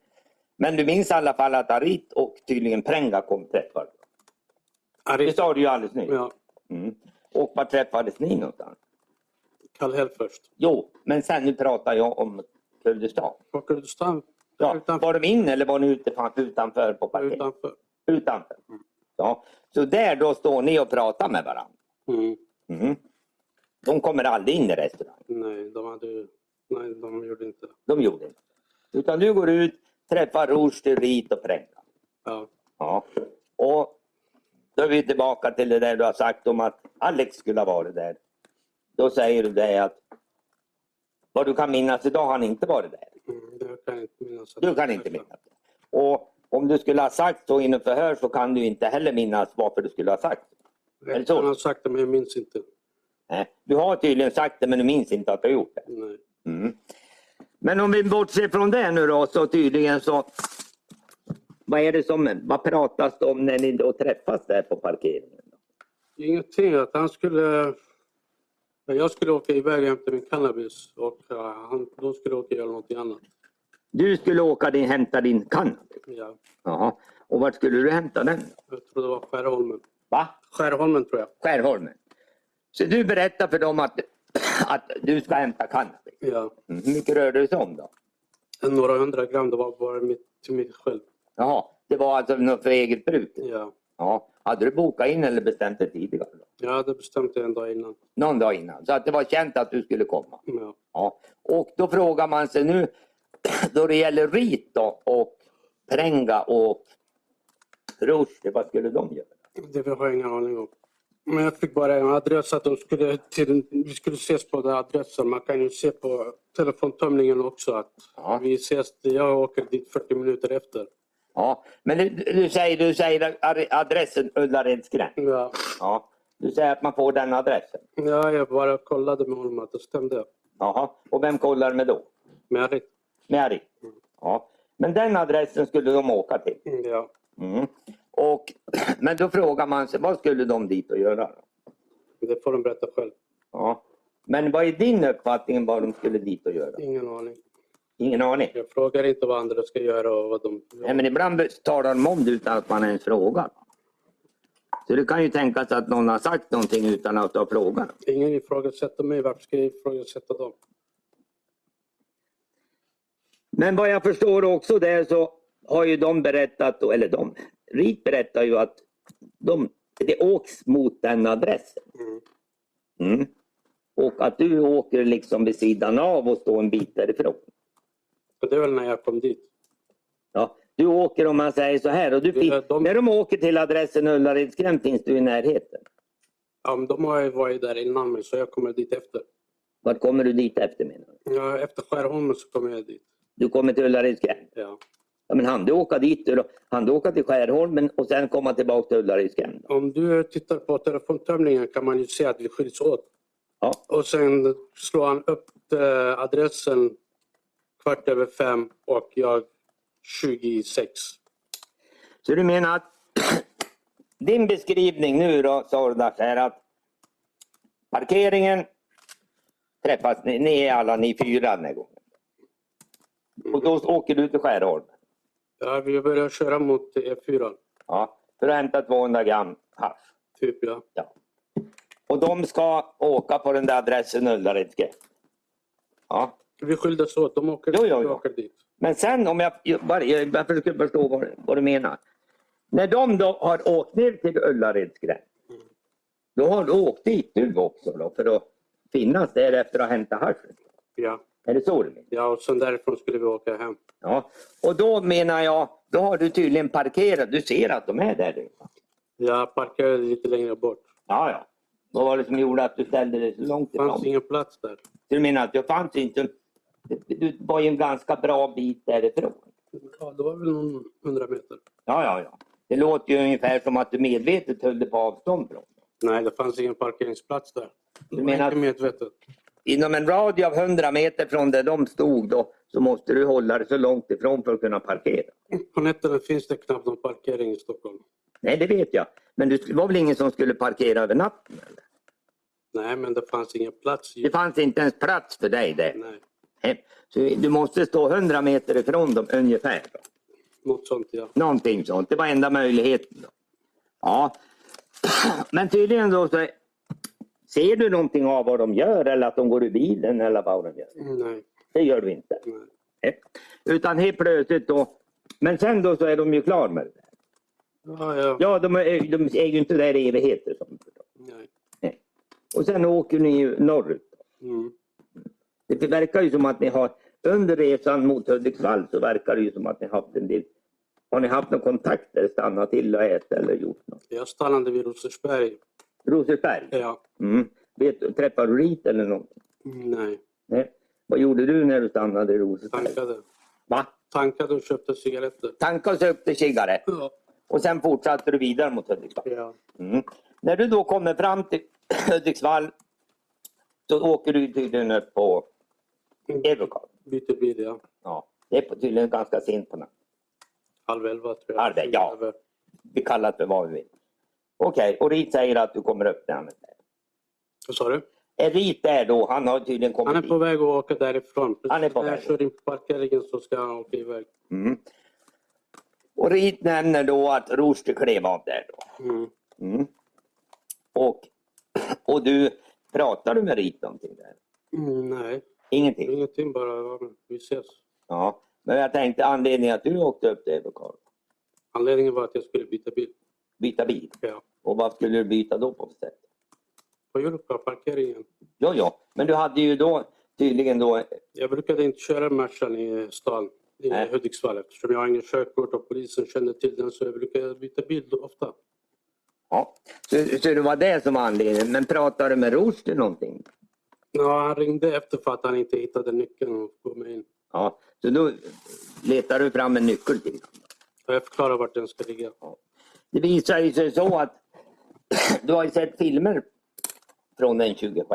C: Men du minns i alla fall att Arit och tydligen Prenga kom träffas. Det
B: Aris.
C: sa du ju alldeles nyss.
B: Ja.
C: Mm. Och var träffades ni någonstans?
B: Kallhäll först.
C: Jo, men sen nu pratar jag om Kurdistan.
B: Var Kurdistan?
C: Ja,
B: Utanför.
C: Var de inne eller var ni ute, fanns utanför på parkeringen?
B: Utanför.
C: Utanför. Ja. Så där då står ni och pratar med varandra.
B: Mm.
C: Mm. De kommer aldrig in i restaurangen.
B: Nej, de hade ju... Nej, de gjorde inte det.
C: De gjorde inte. Utan du går ut, träffar Rushdie, Rit och Prenga.
B: Ja.
C: Ja. Och då är vi tillbaka till det där du har sagt om att Alex skulle ha varit där. Då säger du det att vad du kan minnas idag har han inte varit där.
B: Mm. Jag kan inte minnas. att-
C: Du kan inte minnas det. Och om du skulle ha sagt så inom förhör så kan du inte heller minnas varför du skulle ha sagt det. Är det
B: Jag
C: så?
B: kan ha sagt det, men jag minns inte.
C: Nej. Du har tydligen sagt det men du minns inte att du har gjort det.
B: Nej.
C: Mm. Men om vi bortser från det nu då så tydligen så. Vad är det som, vad pratas det om när ni då träffas där på parkeringen?
B: Ingenting. Att han skulle... Jag skulle åka iväg och hämta min cannabis och eh, han, de skulle åka och göra någonting annat.
C: Du skulle åka din, hämta din cannabis.
B: Ja.
C: Jaha. Och vart skulle du hämta den? då?
B: Jag tror det var Skärholmen.
C: Va?
B: Skärholmen tror jag.
C: Skärholmen. Så du berättar för dem att, att du ska hämta cannabis.
B: Ja.
C: Mm. Hur mycket rörde det sig om då?
B: Några hundra gram, det var bara mitt, till mitt själv.
C: Jaha, det var alltså något för eget bruk?
B: Ja.
C: Ja. Hade du bokat in eller bestämt det tidigare? Då?
B: Jag hade bestämt det en dag innan.
C: Någon dag innan? Så att det var känt att du skulle komma?
B: Ja.
C: Ja. Och då frågar man sig nu då det gäller RIT då, och Prenga och Rushdie, vad skulle de göra?
B: Det har jag ingen aning om. Men jag fick bara en adress att de skulle till, vi skulle ses på den här adressen. Man kan ju se på telefontömningen också att
C: Ja.
B: vi ses. Jag åker dit 40 minuter efter.
C: Ja, men du, du säger, du säger ar- adressen Ullareds gränd.
B: Ja.
C: Ja. Du säger att man får den adressen.
B: ja, jag bara kollade med honom att det stämde.
C: Jaha. Och vem kollar med då?
B: Men jag, rätt-
C: Med RIT? Ja. Men den adressen skulle de åka till.
B: ja.
C: Mm. Och, men då frågar man sig, vad skulle de dit och göra? Då?
B: det får de berätta själv.
C: Ja. Men vad är din uppfattning om vad de skulle dit och göra?
B: Ingen aning.
C: Ingen aning?
B: Jag frågar inte vad andra ska göra och vad de...
C: Nej, men ibland talar de om det utan att man ens frågar. Så det kan ju tänkas att någon har sagt någonting utan att ha frågat.
B: Ingen ifrågasätter mig. Varför ska jag ifrågasätta dem?
C: Men vad jag förstår också där så har ju de berättat, eller de, RIT berättar ju att de, det åks mot den adressen.
B: Mm.
C: Mm. Och att du åker liksom vid sidan av och står en bit därifrån.
B: För det är väl när jag kom dit.
C: Ja, du åker om man säger så här. Och du
B: Det är
C: fin-
B: de-
C: När de åker till adressen Ullaredsgränd finns du i närheten.
B: Ja, men de har ju varit där innan mig så jag kommer dit efter.
C: Vart kommer du dit efter menar du?
B: Ja, efter Skärholmen så kommer jag dit.
C: Du kommer till Ullaredsgränd.
B: Ja.
C: Ja, men han du åka dit du då? Han du åka till Skärholmen och sen komma tillbaka till Ullaredsgränd?
B: Om du tittar på telefontömningen kan man ju se att vi skiljs åt.
C: Ja.
B: Och sen slår han upp eh, adressen kvart över fem och jag 26.
C: Så du menar att din beskrivning nu då Sordas är att parkeringen träffas ni, ni är alla ni fyra den här gången. Och då åker du till Skärholmen.
B: Ja, vi börjar köra mot E E4.
C: Ja, för att hämta 200 gram hasch.
B: Typ ja.
C: Ja. Och de ska åka på den där adressen Ullaredske. Ja.
B: Vi skildes åt. De åker,
C: Jo, jo,
B: vi
C: jo.
B: åker dit.
C: Men sen om jag, jag, bara- jag jag försöker förstå vad, vad du menar. När de då har åkt ner till Ullareds gräns. Då har du åkt dit du också då för att finnas där efter att hämta haschen.
B: Ja.
C: Är det så du menar?
B: ja, och sen därifrån skulle vi åka hem.
C: Ja. Och då menar jag, då har du tydligen parkerat. Du ser att de är där. redan.
B: Jag parkerade lite längre bort.
C: Ja, ja. Vad var det som gjorde att du ställde dig så långt
B: Det
C: ifrån?
B: fanns ingen plats där.
C: Du menar att du fanns inte... Du var ju en ganska bra bit därifrån.
B: Ja, det var väl någon hundra meter.
C: Ja, ja, ja. Det låter ju ungefär som att du medvetet höll dig på avstånd från.
B: Nej, det fanns ingen parkeringsplats där. Det
C: Du
B: var
C: menar
B: inte medvetet.
C: Inom en radie av 100 meter från där de stod då, så måste du hålla dig så långt ifrån för att kunna parkera.
B: På nätterna finns det knappt någon parkering i Stockholm.
C: Nej, det vet jag. Men det var väl ingen som skulle parkera över natten? Eller?
B: Nej, men det fanns ingen plats.
C: Det
B: Ju.
C: fanns inte ens plats för dig där.
B: Nej,
C: Nej. Så du måste stå 100 meter ifrån dem ungefär. Då.
B: något sånt ja.
C: Någonting sånt. Det var enda möjligheten. Då. Ja. Men tydligen då så ser du någonting av vad de gör eller att de går ur bilen eller vad de gör.
B: Nej,
C: Det gör du inte.
B: nej.
C: Nej. Utan helt plötsligt då. Men sen då så är de ju klara med det.
B: Ja, ja.
C: Ja, de är, de är ju inte där i evigheter. som du förstår.
B: Nej.
C: Och sen åker ni ju norrut.
B: Mm.
C: Det verkar ju som att ni har under resan mot Hudiksvall så verkar det ju som att ni haft en del. Har ni haft någon kontakt eller stannat till och ätit eller gjort något?
B: Jag stannade vid Rosersberg.
C: Rosersberg?
B: Ja.
C: Mm. Vet, du, träffade du dit eller någonting?
B: Nej,
C: Nej. Vad gjorde du när du stannade i Rosersberg?
B: tankade.
C: Va?
B: Tankade och köpte cigaretter.
C: Tankade och sökte cigarett
B: Ja.
C: och sen fortsatte du vidare mot Hudiksvall?
B: ja.
C: Mm. När du då kommer fram till Hudiksvall så åker du tydligen upp på Mm. Evergard.
B: Byter Mm. bil ja.
C: Ja, det är på- tydligen ganska sent på natten.
B: Halv elva tror jag.
C: Halv elva, ja.
B: Över.
C: Vi kallar det för vad vi vill. Okej, och Rit säger att du kommer upp där. han är där.
B: Vad sa du?
C: Är Rit där då? Han har tydligen kommit
B: Han är på väg att åka därifrån. Precis
C: Han är på
B: när jag
C: väg.
B: kör in på parkeringen så ska han åka iväg.
C: dit. Mm. Och Rit nämner då att Rushdie klev av där. Då.
B: Mm.
C: Mm. Och, och du, pratar du med Rit någonting där?
B: Mm, nej,
C: Ingenting?
B: ingenting bara. ja, men Vi ses.
C: Ja, men jag tänkte anledningen att du åkte upp till Evergard,
B: Anledningen var att jag skulle byta bil.
C: byta bil.
B: Ja.
C: Och vad skulle du byta då på för sätt?
B: Vad gör du på parkeringen?
C: Jo, jo, men du hade ju då tydligen då,
B: Jag brukade inte köra matchen i stan i
C: Nej.
B: Hudiksvall eftersom jag har ingen körkort och polisen känner till den så jag brukar byta bil då ofta.
C: ja, så, så det var det som var anledningen. Men pratade du med Roster någonting?
B: Ja, han ringde efter för att han inte hittade nyckeln och kom mig in.
C: Ja, så då letar du fram en nyckel till honom.
B: Och jag förklarar vart den ska ligga.
C: Det visar ju sig så att du har ju sett filmer från den 26.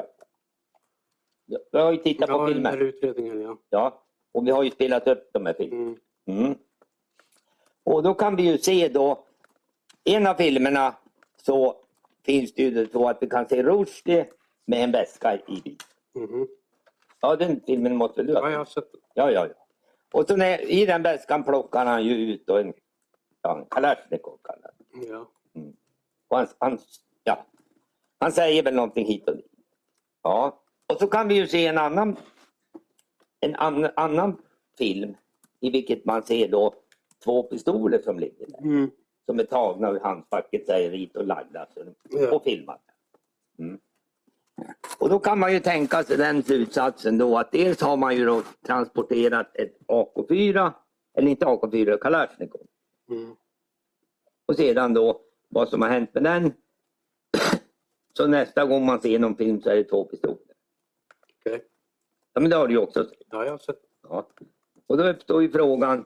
C: Du har ju tittat på
B: Ja, den här
C: filmer.
B: utredningen ja.
C: Ja, och vi har ju spelat upp de här filmerna.
B: Mm.
C: Mm. Och då kan vi ju se då, i en av filmerna så finns det ju det så att vi kan se Rushdie med en väska i bilen.
B: Mhm.
C: Ja, den filmen måste du
B: Ja, jag
C: ha.
B: har sett den.
C: Ja, ja, ja. Och så när, i den väskan plockar han ju ut då en, ja, en Kalashnikov. kallar han.
B: Ja.
C: Och han, han, ja. han säger väl någonting hit och dit. Ja. Och så kan vi ju se en annan, en an, annan film i vilket man ser då två pistoler som ligger där.
B: Mm.
C: som är tagna ur handfacket säger hit och lagda så de-
B: Ja.
C: och filmat. Mm. Och då kan man ju tänka sig den slutsatsen då att dels har man ju då transporterat ett AK4, eller inte AK4, Kalashnikov.
B: Mm.
C: Och sedan då vad som har hänt med den. Så nästa gång man ser någon film så är det två pistoler.
B: Okej.
C: Ja men det har du ju också sett.
B: Ja, jag har sett
C: Ja. Och då uppstår ju frågan.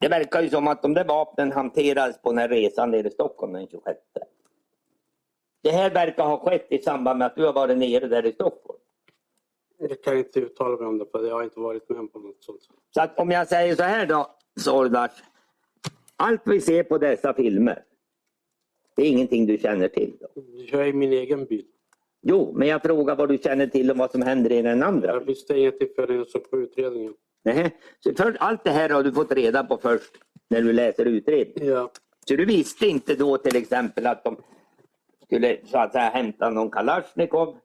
C: Det verkar ju som att de där vapnen hanterades på den här resan nere i Stockholm den 26. Det här verkar ha skett i samband med att du har varit nere där i Stockholm.
B: Jag kan inte uttala mig om det för jag har inte varit med på något sånt.
C: Så att om jag säger så här då, Sordas. Allt vi ser på dessa filmer, det är ingenting du känner till. Då.
B: Jag är i min egen bil.
C: Jo, men jag frågar vad du känner till om vad som händer i den andra.
B: Jag visste ingenting förrän jag såg på utredningen.
C: Nej. Så för, allt det här har du fått reda på först när du läser utredningen.
B: Ja,
C: Så du visste inte då till exempel att de skulle så att säga hämta någon Kalashnikov?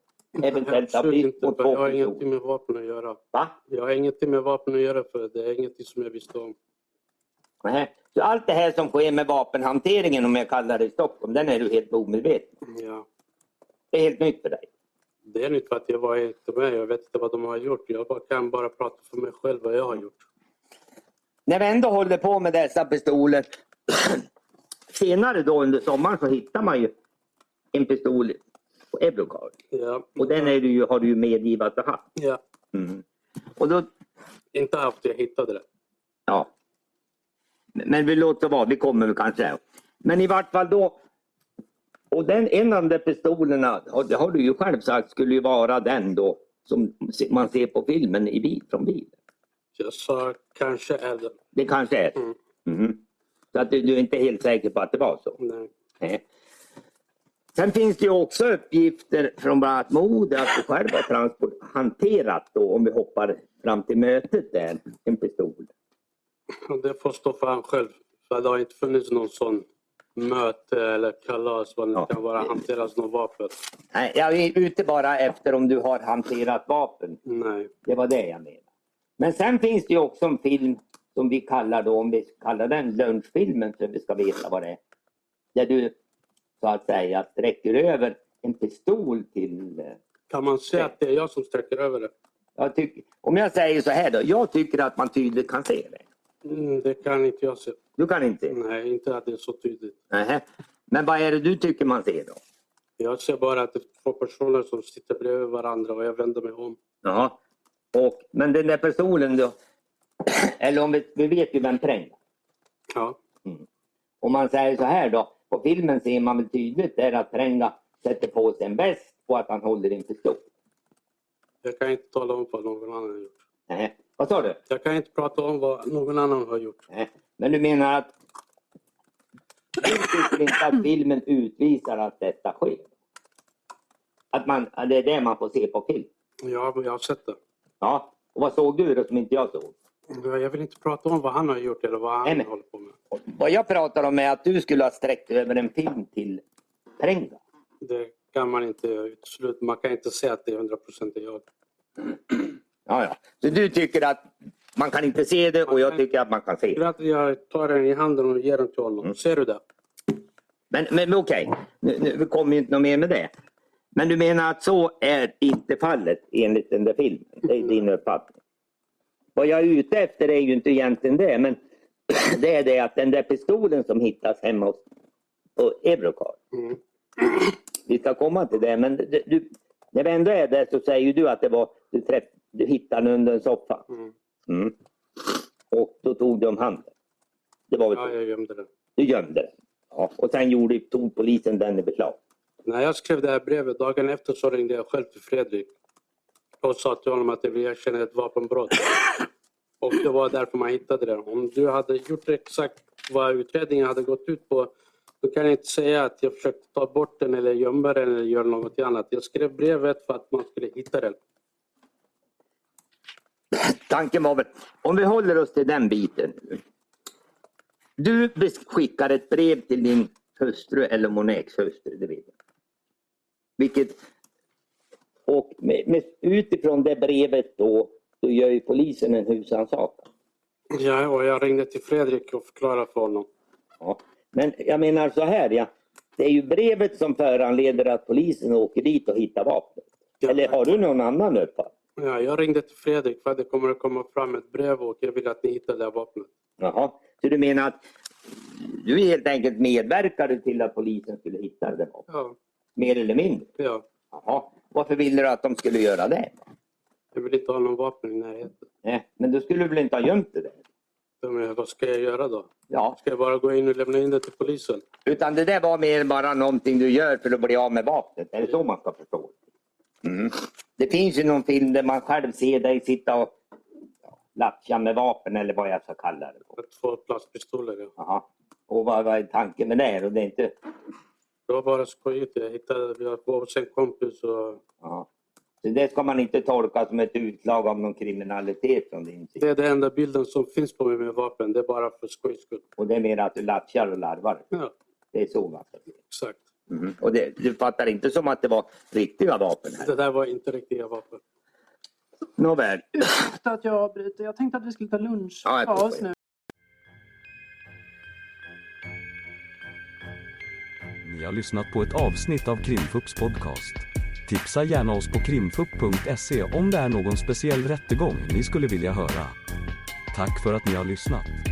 C: Eventuellt ha
B: absolut
C: bytt
B: inte.
C: mot
B: för Jag
C: två
B: har ingenting
C: personer?
B: med vapen att göra.
C: Va?
B: Jag har ingenting med vapen att göra för det är ingenting som jag visste om.
C: Nej. Så allt det här som sker med vapenhanteringen om jag kallar det i Stockholm, den är du helt omedveten om.
B: Ja,
C: Det är helt nytt för dig.
B: det är nytt för att jag var inte med. Jag vet inte vad de har gjort. Jag bara- kan bara prata för mig själv vad jag har gjort.
C: När vi ändå håller på med dessa pistoler senare då under sommaren så hittar man ju en pistol på Eurocard.
B: Ja,
C: Och den är du, ju- har du ju medgivit att du haft.
B: ja.
C: Mm. Och då,
B: Inte haft, jag hittade det.
C: ja. Men vi låter vara, vi kommer väl kanske. Men i vart fall då. Och den, en av de där pistolerna, och det har du ju själv sagt, skulle ju vara den då som man ser på filmen i bil, från bilen.
B: Jag sa kanske är det.
C: Det kanske är
B: Mm.
C: det. Mm. Så att du, du är inte helt säker på att det var så.
B: Nej.
C: Nej. Eh. Sen finns det ju också uppgifter från bland annat Mode att du själv har transport hanterat då, om vi hoppar fram till mötet där, en pistol.
B: Och Det får stå för han själv. För det har inte funnits någon sån möte eller kalas vad det
C: Ja.
B: kan vara. Hanteras något vapen.
C: Nej, jag är ute bara efter om du har hanterat vapen.
B: Nej.
C: Det var det jag menade. Men sen finns det ju också en film som vi kallar då, om vi kallar den lunchfilmen så vi ska veta vad det är. Där du så att säga sträcker över en pistol till eh,
B: Kan man säga att det är jag som sträcker över det?
C: jag tycker, om jag säger så här då, jag tycker att man tydligt kan se det.
B: Mm, det kan inte jag se.
C: Du kan inte se det?
B: Nej, inte att det är så tydligt.
C: Nähä. Men vad är det du tycker man ser då?
B: Jag ser bara att det är två personer som sitter bredvid varandra och jag vänder mig om.
C: Jaha. Och, men den där personen då, eller om vi, vi vet ju vem Präng
B: Ja.
C: Om man säger så här då, på filmen ser man väl tydligt där att Prenga sätter på sig en väst och att han håller en pistol.
B: Jag kan inte tala om vad någon annan har gjort.
C: Nej. Vad sa du?
B: Jag kan inte prata om vad någon annan har gjort.
C: Nej. Men du menar att du tycker inte att filmen utvisar att detta sker? Att man, att det är det man får se på film?
B: Ja, men jag har sett det.
C: Ja. Och vad såg du då som inte jag såg?
B: Ja, Jag vill inte prata om vad han har gjort eller vad han
C: Nej, men-
B: håller på med.
C: Och Vad jag pratar om är att du skulle ha sträckt över en film till Prenga.
B: Det kan man inte utesluta. Man kan inte säga att det är 100 procent jag.
C: Ja, ja. Så du tycker att man kan inte se det och jag tycker att man kan se det?
B: Tycker du att jag tar den i handen och ger den till
C: Mm.
B: honom? Ser du det?
C: Men, men okej, nu, nu vi kommer ju inte något mer med det. Men du menar att så är inte fallet enligt den där filmen? Det är din uppfattning. Vad jag är ute efter är ju inte egentligen det, men det är det att den där pistolen som hittas hemma hos på Eurocard.
B: Mm.
C: Vi ska komma till det, men det- du, när vi ändå är där så säger ju du att det var, du, träff, du hittade den under en soffa.
B: Mm.
C: Mm. Och då tog du om handen. Det var väl så?
B: Ja, jag gömde den.
C: Du gömde den. Ja. Och sen gjorde, tog polisen den i beslag.
B: När jag skrev det här brevet, dagen efter så ringde jag själv till Fredrik och sa till honom att jag vill erkänna ett vapenbrott. Och det var därför man hittade det. Om du hade gjort exakt vad utredningen hade gått ut på, då kan jag inte säga att jag försökte ta bort den eller gömma den eller göra något annat. Jag skrev brevet för att man skulle hitta den.
C: Tanken var väl, om vi håller oss till den biten. nu. Du bes- skickar ett brev till din hustru eller om hon är exhustru, det vet jag. Vilket, och med, med, utifrån det brevet då, då gör ju polisen en husrannsakan.
B: Ja, och jag ringde till Fredrik och förklarade för honom.
C: Ja. Men jag menar så här, ja. det är ju brevet som föranleder att polisen åker dit och hittar vapnet.
B: Ja.
C: Eller har du någon annan uppfattning?
B: Ja, jag ringde till Fredrik för att det kommer att komma fram ett brev och jag vill att ni hittar det här vapnet.
C: Jaha, så du menar att du helt enkelt medverkade till att polisen skulle hitta det? då?
B: Ja,
C: Mer eller mindre?
B: ja.
C: Jaha, varför ville du att de skulle göra det?
B: Jag vill inte ha någon vapen i närheten.
C: Nej, men då skulle du väl inte ha gömt det? där?
B: Ja, Men vad ska jag göra då?
C: Ja,
B: Ska jag bara gå in och lämna in det till polisen?
C: utan det där var mer bara någonting du gör för att bli av med vapnet. Är det så man ska förstå det? Mm. Det finns ju någon film där man själv ser dig sitta och ja, lattja med vapen eller vad jag ska kalla det. för.
B: Med två plastpistoler. Ja.
C: Jaha. Och vad, vad är tanken med det? Och det är inte...
B: Det var bara skojigt. Jag hittade, vi var hos en kompis och
C: Ja. Så det ska man inte tolka som ett utslag av någon kriminalitet från din
B: det
C: sida.
B: är den enda bilden som finns på mig med vapen. Det är bara för skojs skull.
C: Och det är mer att du latchar och larvar.
B: Ja,
C: Det är så man ska se
B: exakt.
C: mm. Och det, du fattar inte som att det var riktiga vapen här?
B: Det där var inte riktiga vapen.
C: Nåväl.
A: Ursäkta att jag avbryter. Jag tänkte att vi skulle ta lunch.
C: Ja, jag
A: Ta oss
C: förstår.
A: nu.
E: Ni har lyssnat på ett avsnitt av Krimfupps podcast. Tipsa gärna oss på krimfupp.se om det är någon speciell rättegång ni skulle vilja höra. Tack för att ni har lyssnat.